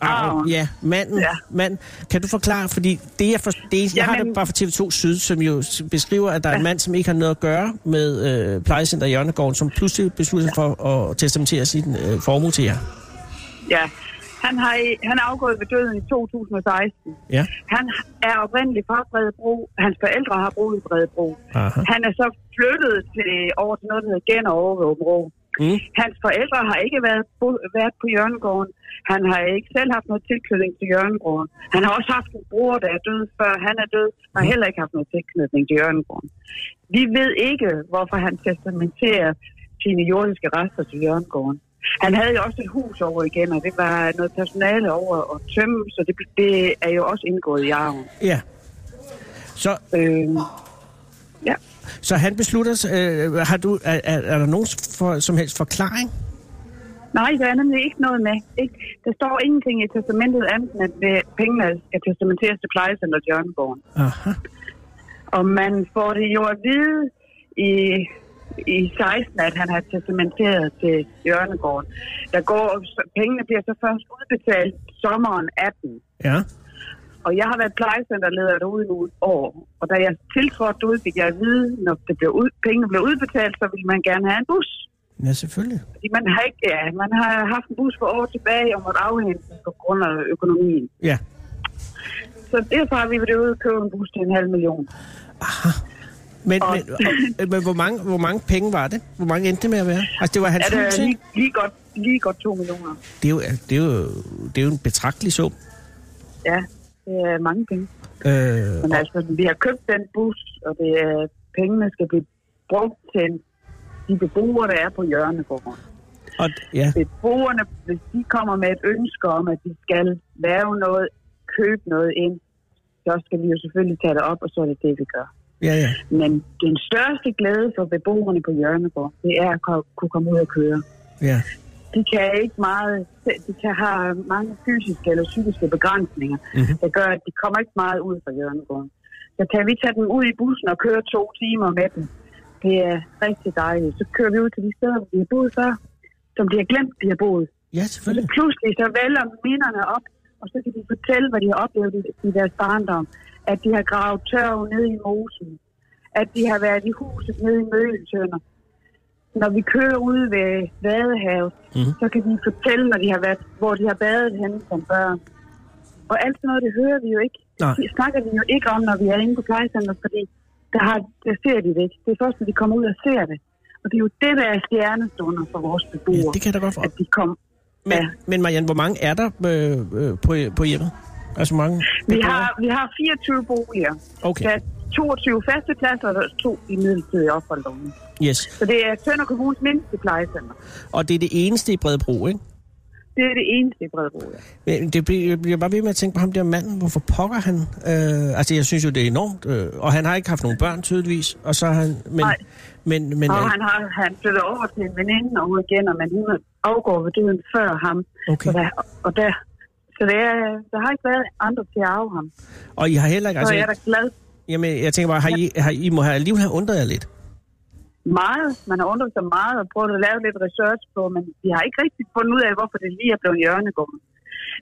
S3: Arven.
S7: Arven.
S3: Ja, manden. Ja.
S7: Ja.
S3: Manden. Kan du forklare, fordi det, jeg, for, det, jeg har
S7: Jamen-
S3: det bare fra TV2 Syd, som jo s- beskriver, at der er en mand, som ikke har noget at gøre med øh, plejecenter Jørnegården, som pludselig beslutter sig for at testamentere sin øh, formue til jer.
S7: Ja. Han, har, i- han er afgået ved døden i 2016.
S3: Ja.
S7: Han er oprindeligt fra Bredebro. Hans forældre har boet i Bredebro.
S3: Aha.
S7: Han er så flyttet til, over til noget, der hedder Gen over ved Åbenrå.
S3: Mm.
S7: Hans forældre har ikke været, bo, været på Jørgengården. Han har ikke selv haft noget tilknytning til Jørgengården. Han har også haft en bror, der er død, før han er død,
S3: Mm.
S7: og har heller ikke haft noget tilknytning til Jørgengården. Vi ved ikke, hvorfor han testamenterer sine jordiske rester til Jørgengården. Han havde jo også et hus over igen, og det var noget personale over at tømme, så det, det er jo også indgået i arven.
S3: Ja. Så
S7: Øh, ja.
S3: Så han beslutter, sig- øh, har du, er, er, er der nogen for, som helst forklaring?
S7: Nej, der er nemlig ikke noget med. Ikke? Der står ingenting i testamentet andet, end at øh, pengene skal testamenteres til plejecenter Jørgenborg.
S3: Aha.
S7: Og man får det jo at vide i, i 16, at han har testamenteret til Jørgenborg. Der går, så pengene bliver så først udbetalt sommeren 18.
S3: Ja.
S7: Og jeg har været plejecenterleder derude nu et år. Og da jeg tiltrådte derude, fik jeg at vide, når det blev ud, pengene blev udbetalt, så ville man gerne have en bus.
S3: Ja, selvfølgelig.
S7: Fordi man har ikke, ja, man har haft en bus for år tilbage og måtte afhente den på grund af økonomien.
S3: Ja.
S7: Så derfor har vi været ude og købe en bus til en halv million.
S3: Men,
S7: Og-
S3: men, og, øh, men hvor, mange, hvor mange penge var det? Hvor mange endte det med at
S7: [LAUGHS]
S3: være? Altså, det var hans
S7: Er
S3: hus,
S7: det
S3: det,
S7: lige, lige, godt, lige godt to millioner?
S3: det, er jo, det, er jo, det er jo en betragtelig sum.
S7: Ja. det er mange penge.
S3: Øh,
S7: Men altså, vi har købt den bus, og det er, pengene skal blive brugt til de beboere, der er på hjørnegården.
S3: og, ja,
S7: Beboerne, hvis de kommer med et ønske om, at de skal lave noget, købe noget ind, så skal vi jo selvfølgelig tage det op, og så er det det, vi gør.
S3: ja, ja.
S7: Men den største glæde for beboerne på Hjørnegård, det er at ko- kunne komme ud og køre.
S3: ja.
S7: de kan ikke meget, de kan have mange fysiske eller psykiske begrænsninger,
S3: Mhm.
S7: mm-hmm. der gør, at de kommer ikke meget ud fra Jørgengården. Så kan vi tage dem ud i bussen og køre to timer med dem. Det er rigtig dejligt. Så kører vi ud til de steder, hvor de har boet før, som de har glemt, de har boet.
S3: Ja,
S7: Og så
S3: selvfølgelig.
S7: pludselig så vælger minderne op, og så kan de fortælle, hvad de har oplevet i- i deres barndom. At de har gravet tørv ned i mosen. At de har været i huset nede i Møgeltønder. Når vi kører ude ved Vadehavet,
S3: Mhm.
S7: mm. så kan de fortælle, når de har været, hvor de har badet henne som børn. Og alt sådan noget, det hører vi jo ikke.
S3: Nej.
S7: Det snakker vi jo ikke om, når vi er inde på plejecenter, fordi der, har, der ser de det ikke. Det er først, når de kommer ud og ser det. Og det er jo det, der er stjernestunder for vores
S3: Ja,
S7: beboere.
S3: det kan der godt for.
S7: At de kommer
S3: Men,
S7: ja.
S3: men Marianne, hvor mange er der øh, øh, på, på hjemmet? Altså hvor mange?
S7: Vi
S3: beboere?
S7: har, vi har 24 boliger.
S3: Okay.
S7: Der er 22 faste pladser, og der er to i midlertidige opholddomme.
S3: Yes.
S7: Så det er Tønder Kommunes mindste plejecenter.
S3: Og det er det eneste i Bredebro, ikke?
S7: Det er det eneste i Bredebro, ja.
S3: Men Øh, det bliver, jeg bliver bare ved med at tænke på ham der manden. Hvorfor pokker han? Øh, altså, jeg synes jo, det er enormt. Øh, og han har ikke haft nogen børn, tydeligvis. Og så har han... Men,
S7: Nej.
S3: men, men,
S7: Og
S3: øh,
S7: han, har, han flytter over til en veninde og ud igen, og man hun afgår ved døden før ham.
S3: Okay.
S7: Og der, og der, så det er, der har ikke været andre til at arve ham.
S3: og I har heller ikke...
S7: Så
S3: Altså,
S7: er jeg da glad
S3: Jamen, jeg tænker bare, har I, har, I må have, alligevel have undret jer lidt.
S7: meget. Man har undret sig meget og prøvet at lave lidt research på, men vi har ikke rigtig fundet ud af, hvorfor det lige er blevet hjørnegården.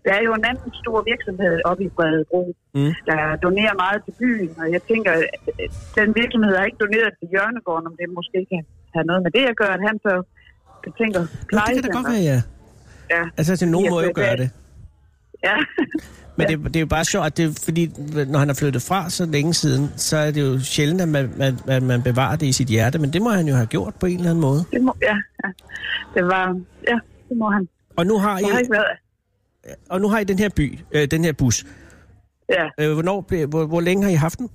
S7: Der er jo en anden stor virksomhed oppe i Bredebro,
S3: Mm.
S7: mm. der donerer meget til byen, og jeg tænker, at øh, den virksomhed har ikke doneret til Hjørnegården, om det måske kan have noget med det at gøre, at han så betænker
S3: Nå, det kan da godt være, ja.
S7: Ja.
S3: Altså, til nogen
S7: Ja,
S3: må jo
S7: det-
S3: gøre det.
S7: ja. [LAUGHS]
S3: Men det, det er jo bare sjovt, at det, fordi når han er flyttet fra så længe siden, så er det jo sjældent, at man, man, at man bevarer det i sit hjerte. Men det må han jo have gjort på en eller anden måde.
S7: det må, ja, ja. Det var, ja, det må han.
S3: Og nu har I,
S7: Det har ikke været,
S3: og nu har I den her by, øh, den her bus.
S7: ja,
S3: Øh, hvornår, blev- hvor, hvor længe har I haft den?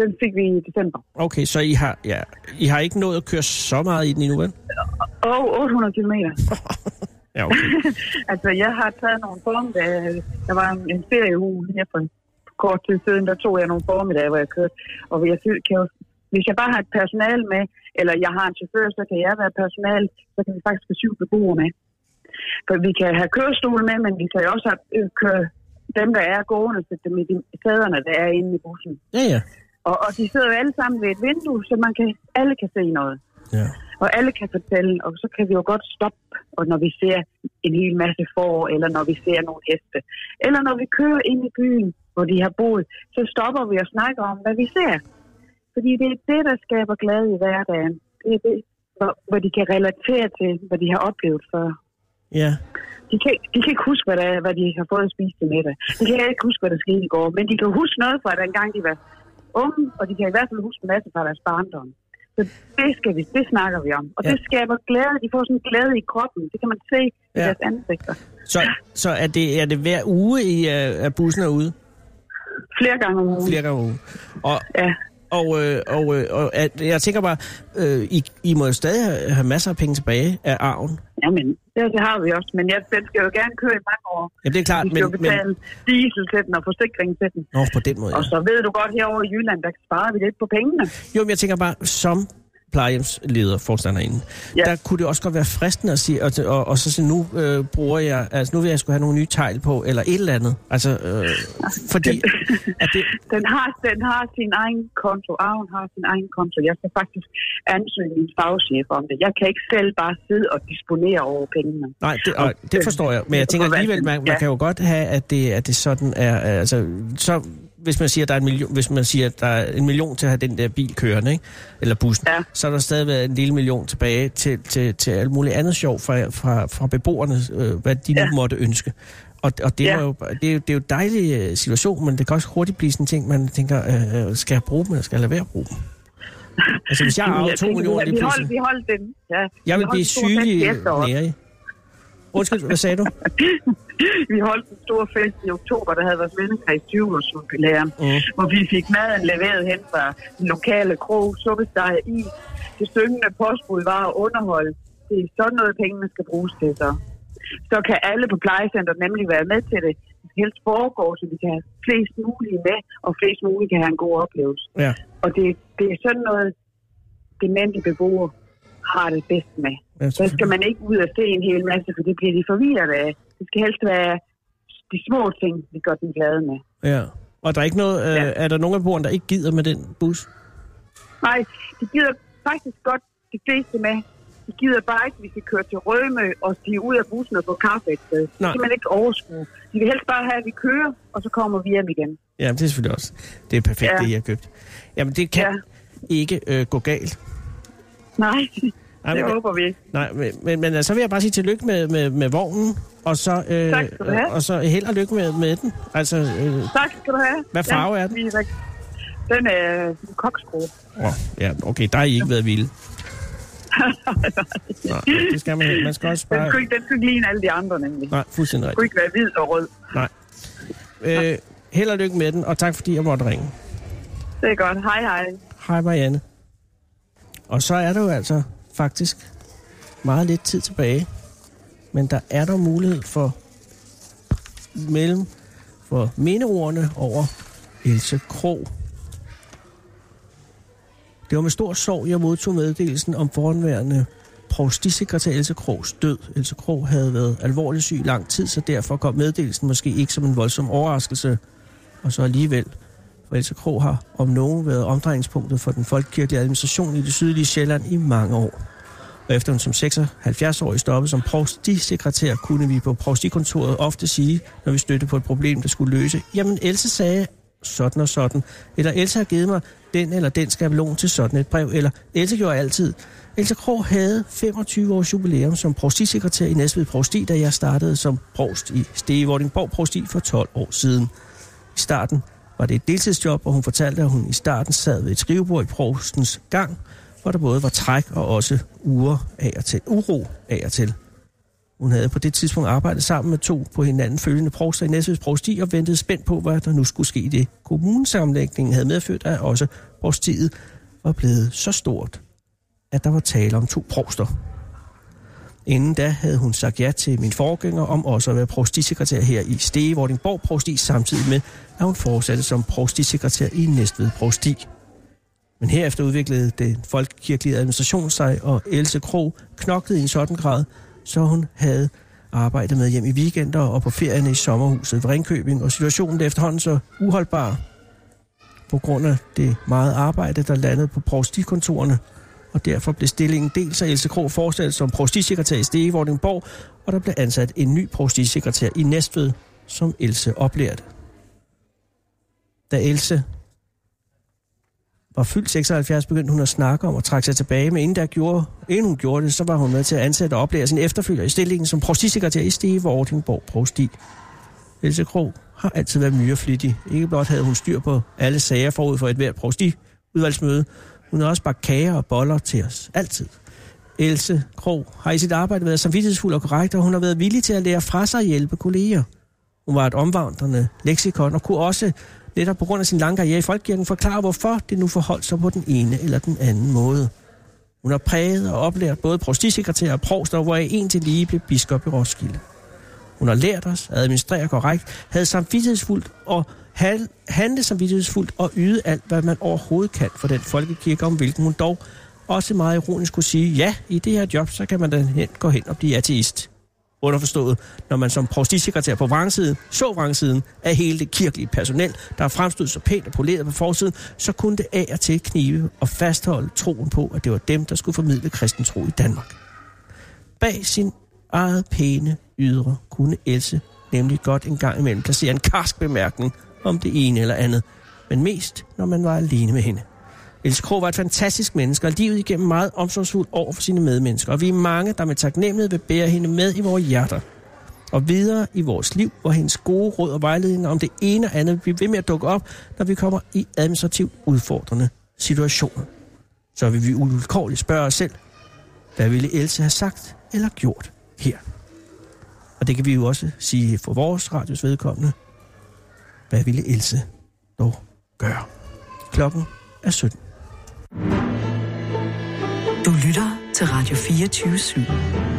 S7: den fik vi i december.
S3: Okay, så I har, ja, I har ikke nået at køre så meget i den endnu, vel?
S7: Og 800 kilometer.
S3: Ja, okay.
S7: Altså, jeg har taget nogle formiddage. Der var en, en ferieuge her for kort tid siden, der tog jeg nogle formiddage, hvor jeg kørte. Og jeg sy- kan jo, hvis jeg bare har et personal med, eller jeg har en chauffør, så kan jeg være personal, så kan vi faktisk få syv beboere med. For vi kan have kørestol med, men vi kan jo også have, øh, køre dem, der er gående, sætte dem i de sæderne, der er inde i bussen.
S3: Ja, ja.
S7: Og, og de sidder jo alle sammen ved et vindue, så man kan, alle kan se noget.
S3: ja.
S7: Og alle kan fortælle, og så kan vi jo godt stoppe, og når vi ser en hel masse får, eller når vi ser nogle heste, eller når vi kører ind i byen, hvor de har boet, så stopper vi og snakker om, hvad vi ser. Fordi det er det, der skaber glæde i hverdagen. Det er det, hvor, hvor de kan relatere til, hvad de har oplevet før.
S3: Ja,
S7: De kan, de kan ikke huske, hvad, der, er- hvad de har fået at spise til middag. De kan ikke huske, hvad der skete i går, men de kan huske noget fra, dengang de var unge, og de kan i hvert fald huske en masse fra deres barndom. Så det, skal vi, det snakker vi om. Og
S3: Ja.
S7: ja. det skaber glæde. De får sådan en glæde i kroppen. Det kan man se ja. i
S3: Ja.
S7: deres ansigter.
S3: så, så er, det, er det hver uge, I er, er bussen er ude?
S7: Flere gange om ugen.
S3: Flere gange om ugen. Og,
S7: Ja.
S3: Og, øh, og, øh, og at, jeg tænker bare, øh, I, I må jo stadig have, have masser af penge tilbage af arven.
S7: Jamen, det, det har vi også. Men jeg, den skal jo gerne køre i mange år.
S3: Jamen, det er klart,
S7: Vi skal
S3: men...
S7: jo
S3: men
S7: betale diesel til den og forsikring til den.
S3: Nå, på den måde,
S7: Og
S3: ja.
S7: så ved du godt, herovre i Jylland, der sparer vi lidt på pengene.
S3: Jo, men jeg tænker bare, som plejehjemsleder, forstanderinde, ja.
S7: Ja.
S3: der kunne det også godt være fristende at sige, og, og, og så sige, nu øh, bruger jeg, altså nu vil jeg skulle have nogle nye tegl på, eller et eller andet. Altså, øh, fordi, at det,
S7: Den har, den har sin egen konto. Arven har sin egen konto. Jeg skal faktisk ansøge min fagchef om det. Jeg kan ikke selv bare sidde og disponere over pengene.
S3: nej, det, og, Øhm, det forstår jeg, men jeg tænker alligevel, man, man kan jo godt have, at det, at det sådan er, altså, så, hvis man siger, at der er en million, hvis man siger, at der er en million til at have den der bil kørende, ikke? eller bussen, ja.
S7: Ja.
S3: så er der stadigvæk en lille million tilbage til, til, til alt muligt andet sjov fra, fra, fra beboerne, øh, hvad de ja. nu måtte ønske. Og, og det, ja.
S7: Ja.
S3: er jo, det, er jo, det er jo en dejlig øh, situation, men det kan også hurtigt blive sådan en ting, man tænker, øh, skal jeg bruge dem, eller skal jeg lade være at bruge dem? Altså hvis jeg
S7: Jamen,
S3: har
S7: jeg
S3: to
S7: tænker,
S3: millioner
S7: vi-
S3: lige
S7: vi holdt,
S3: pludselig,
S7: vi holdt den. Ja,
S3: jeg
S7: vi
S3: vil
S7: holdt
S3: blive
S7: en stor fest
S3: sygelig
S7: i efteråret.
S3: nære. Undskyld, hvad sagde du?
S7: [LAUGHS] Vi holdt en stor fest i oktober, der havde vores vennekreds 20 års jubilæum,
S3: Mm.
S7: mm. hvor vi fik maden leveret hen fra den lokale krog, suppesteg, is. Det syngende påskud var at underholde. Det er sådan noget, pengene skal bruges til så. Så kan alle på plejecenteret nemlig være med til det. Det skal helst foregå, så vi kan have flest mulige med, og flest mulige kan have en god oplevelse.
S3: Ja.
S7: Og det, det er sådan noget, demente beboere har det bedst med.
S3: Ja,
S7: Der skal man ikke ud og se en hel masse, for det bliver de forvirret af. Det skal helst være de små ting, vi gør dem glade med.
S3: ja. Og er der ikke noget, øh,
S7: Ja.
S3: er der nogen af beboerne, der ikke gider med den bus?
S7: Nej, de gider faktisk godt de fleste med. De gider bare ikke, at vi skal køre til Rømø og stige ud af bussen og få kaffe et sted. Det
S3: Nej.
S7: kan man ikke overskue. De vil helst bare have, at vi kører, og så kommer vi hjem igen.
S3: Ja, det er selvfølgelig også. Det er perfekt, ja.
S7: Ja.
S3: det I har købt. Jamen, det kan ja.
S7: Ja.
S3: ikke øh, gå galt.
S7: Nej, [LAUGHS]
S3: Ej,
S7: det
S3: men-
S7: håber vi ikke.
S3: Nej, men, men, men øh, så vil jeg bare sige tillykke med, med, med vognen, og så, øh,
S7: Tak skal du have.
S3: og så held og lykke med, med den. Altså, øh,
S7: Tak skal du have.
S3: Hvad farve er den?
S7: vi rigtig- Den er en koksgro.
S3: åh, ja, okay, der har I ikke været
S7: [LAUGHS]
S3: vilde. Nej, det skal man ikke. Man skal også
S7: Den
S3: bare...
S7: skulle, ikke, den skulle ikke ligne alle de andre, nemlig.
S3: Nej, fuldstændig
S7: Den skulle
S3: rigtigt.
S7: ikke være hvid og rød.
S3: Nej. Øh, held og lykke med den, og tak fordi jeg måtte ringe.
S7: Det er godt. Hej, hej.
S3: Hej Marianne. Og så er der jo altså faktisk meget lidt tid tilbage. Men der er der mulighed for mellem for mindeordene over Else Krog. Det var med stor sorg, jeg modtog meddelelsen om foranværende provstisekretær Else Krogs død. Else Krog havde været alvorligt syg i lang tid, så derfor kom meddelelsen måske ikke som en voldsom overraskelse. Og så alligevel for Else Krog har om nogen været omdrejningspunktet for den folkekirkelige administration i det sydlige Sjælland i mange år. Og efter hun som 76-årig stoppede som provstisekretær, kunne vi på provstikontoret ofte sige, når vi støttede på et problem, der skulle løse, jamen Else sagde sådan og sådan, eller Else har givet mig den eller den skabelon til sådan et brev, eller Else gjorde altid. Else Krog havde 25 års jubilæum som provstisekretær i Næstved Provsti, da jeg startede som provst i Stege Vordingborg Provsti for 12 år siden. I starten var det et deltidsjob, og hun fortalte, at hun i starten sad ved et skrivebord i provstens gang, hvor der både var træk og også uger af og til, uro af og til. Hun havde på det tidspunkt arbejdet sammen med to på hinanden følgende provster i Næsvids provsti og ventede spændt på, hvad der nu skulle ske i det. Kommunesammenlægningen havde medført, at også provstiet var blevet så stort, at der var tale om to provster. Inden da havde hun sagt ja til min forgænger om også at være provstisekretær her i Stege, Vordingborg Provsti, samtidig med, at hun fortsatte som provstisekretær i Næstved Provsti. Men herefter udviklede den folkekirkelige administration sig, og Else Krog knoklede i en sådan grad, så hun havde arbejdet med hjem i weekender og på ferierne i sommerhuset ved Ringkøbing, og situationen blev efterhånden så uholdbar på grund af det meget arbejde, der landede på provstikontorerne, og derfor blev stillingen dels af Else Krog fortsat som provstisekretær i Stege, Vordingborg, og der blev ansat en ny provstisekretær i Næstved, som Else oplærte. Da Else var fyldt 76, begyndte hun at snakke om at trække sig tilbage, men inden, der gjorde, inden hun gjorde det, så var hun med til at ansætte og oplære sin efterfølger i stillingen som provstisekretær i Stege, Vordingborg Provsti. Else Krog har altid været myreflittig. Ikke blot havde hun styr på alle sager forud for et hvert provstiudvalgsmøde, hun har også bagt kager og boller til os. Altid. Else Krog har i sit arbejde været samvittighedsfuld og korrekt, og hun har været villig til at lære fra sig og hjælpe kolleger. Hun var et omvandrende leksikon og kunne også, netop på grund af sin lange karriere i Folkekirken, forklare, hvorfor det nu forholdt sig på den ene eller den anden måde. Hun har præget og oplært både prostisekretær og provster, hvor en til lige blev biskop i Roskilde. Hun har lært os at administrere korrekt, havde samvittighedsfuldt og hal- handle samvittighedsfuldt og yde alt, hvad man overhovedet kan for den folkekirke, om hvilken hun dog også meget ironisk kunne sige, ja, i det her job, så kan man da hen, gå hen og blive ateist. Underforstået, når man som provstisekretær på vrangsiden så vrangsiden af hele det kirkelige personel, der fremstod så pænt og poleret på forsiden, så kunne det af og til knive og fastholde troen på, at det var dem, der skulle formidle kristen tro i Danmark. Bag sin eget pæne ydre kunne Else nemlig godt en gang imellem placere en karsk bemærkning om det ene eller andet, men mest når man var alene med hende. Else Krog var et fantastisk menneske og livet igennem meget omsorgsfuld over for sine medmennesker, og vi er mange, der med taknemmelighed vil bære hende med i vores hjerter og videre i vores liv, hvor hendes gode råd og vejledninger om det ene og andet vil blive ved med at dukke op, når vi kommer i administrativt udfordrende situationer. Så vil vi uudkårligt spørge os selv, hvad ville Else have sagt eller gjort her? Og det kan vi jo også sige for vores radios vedkommende. Hvad ville Else dog gøre? Klokken er 17.
S2: Du lytter til Radio 24 /7.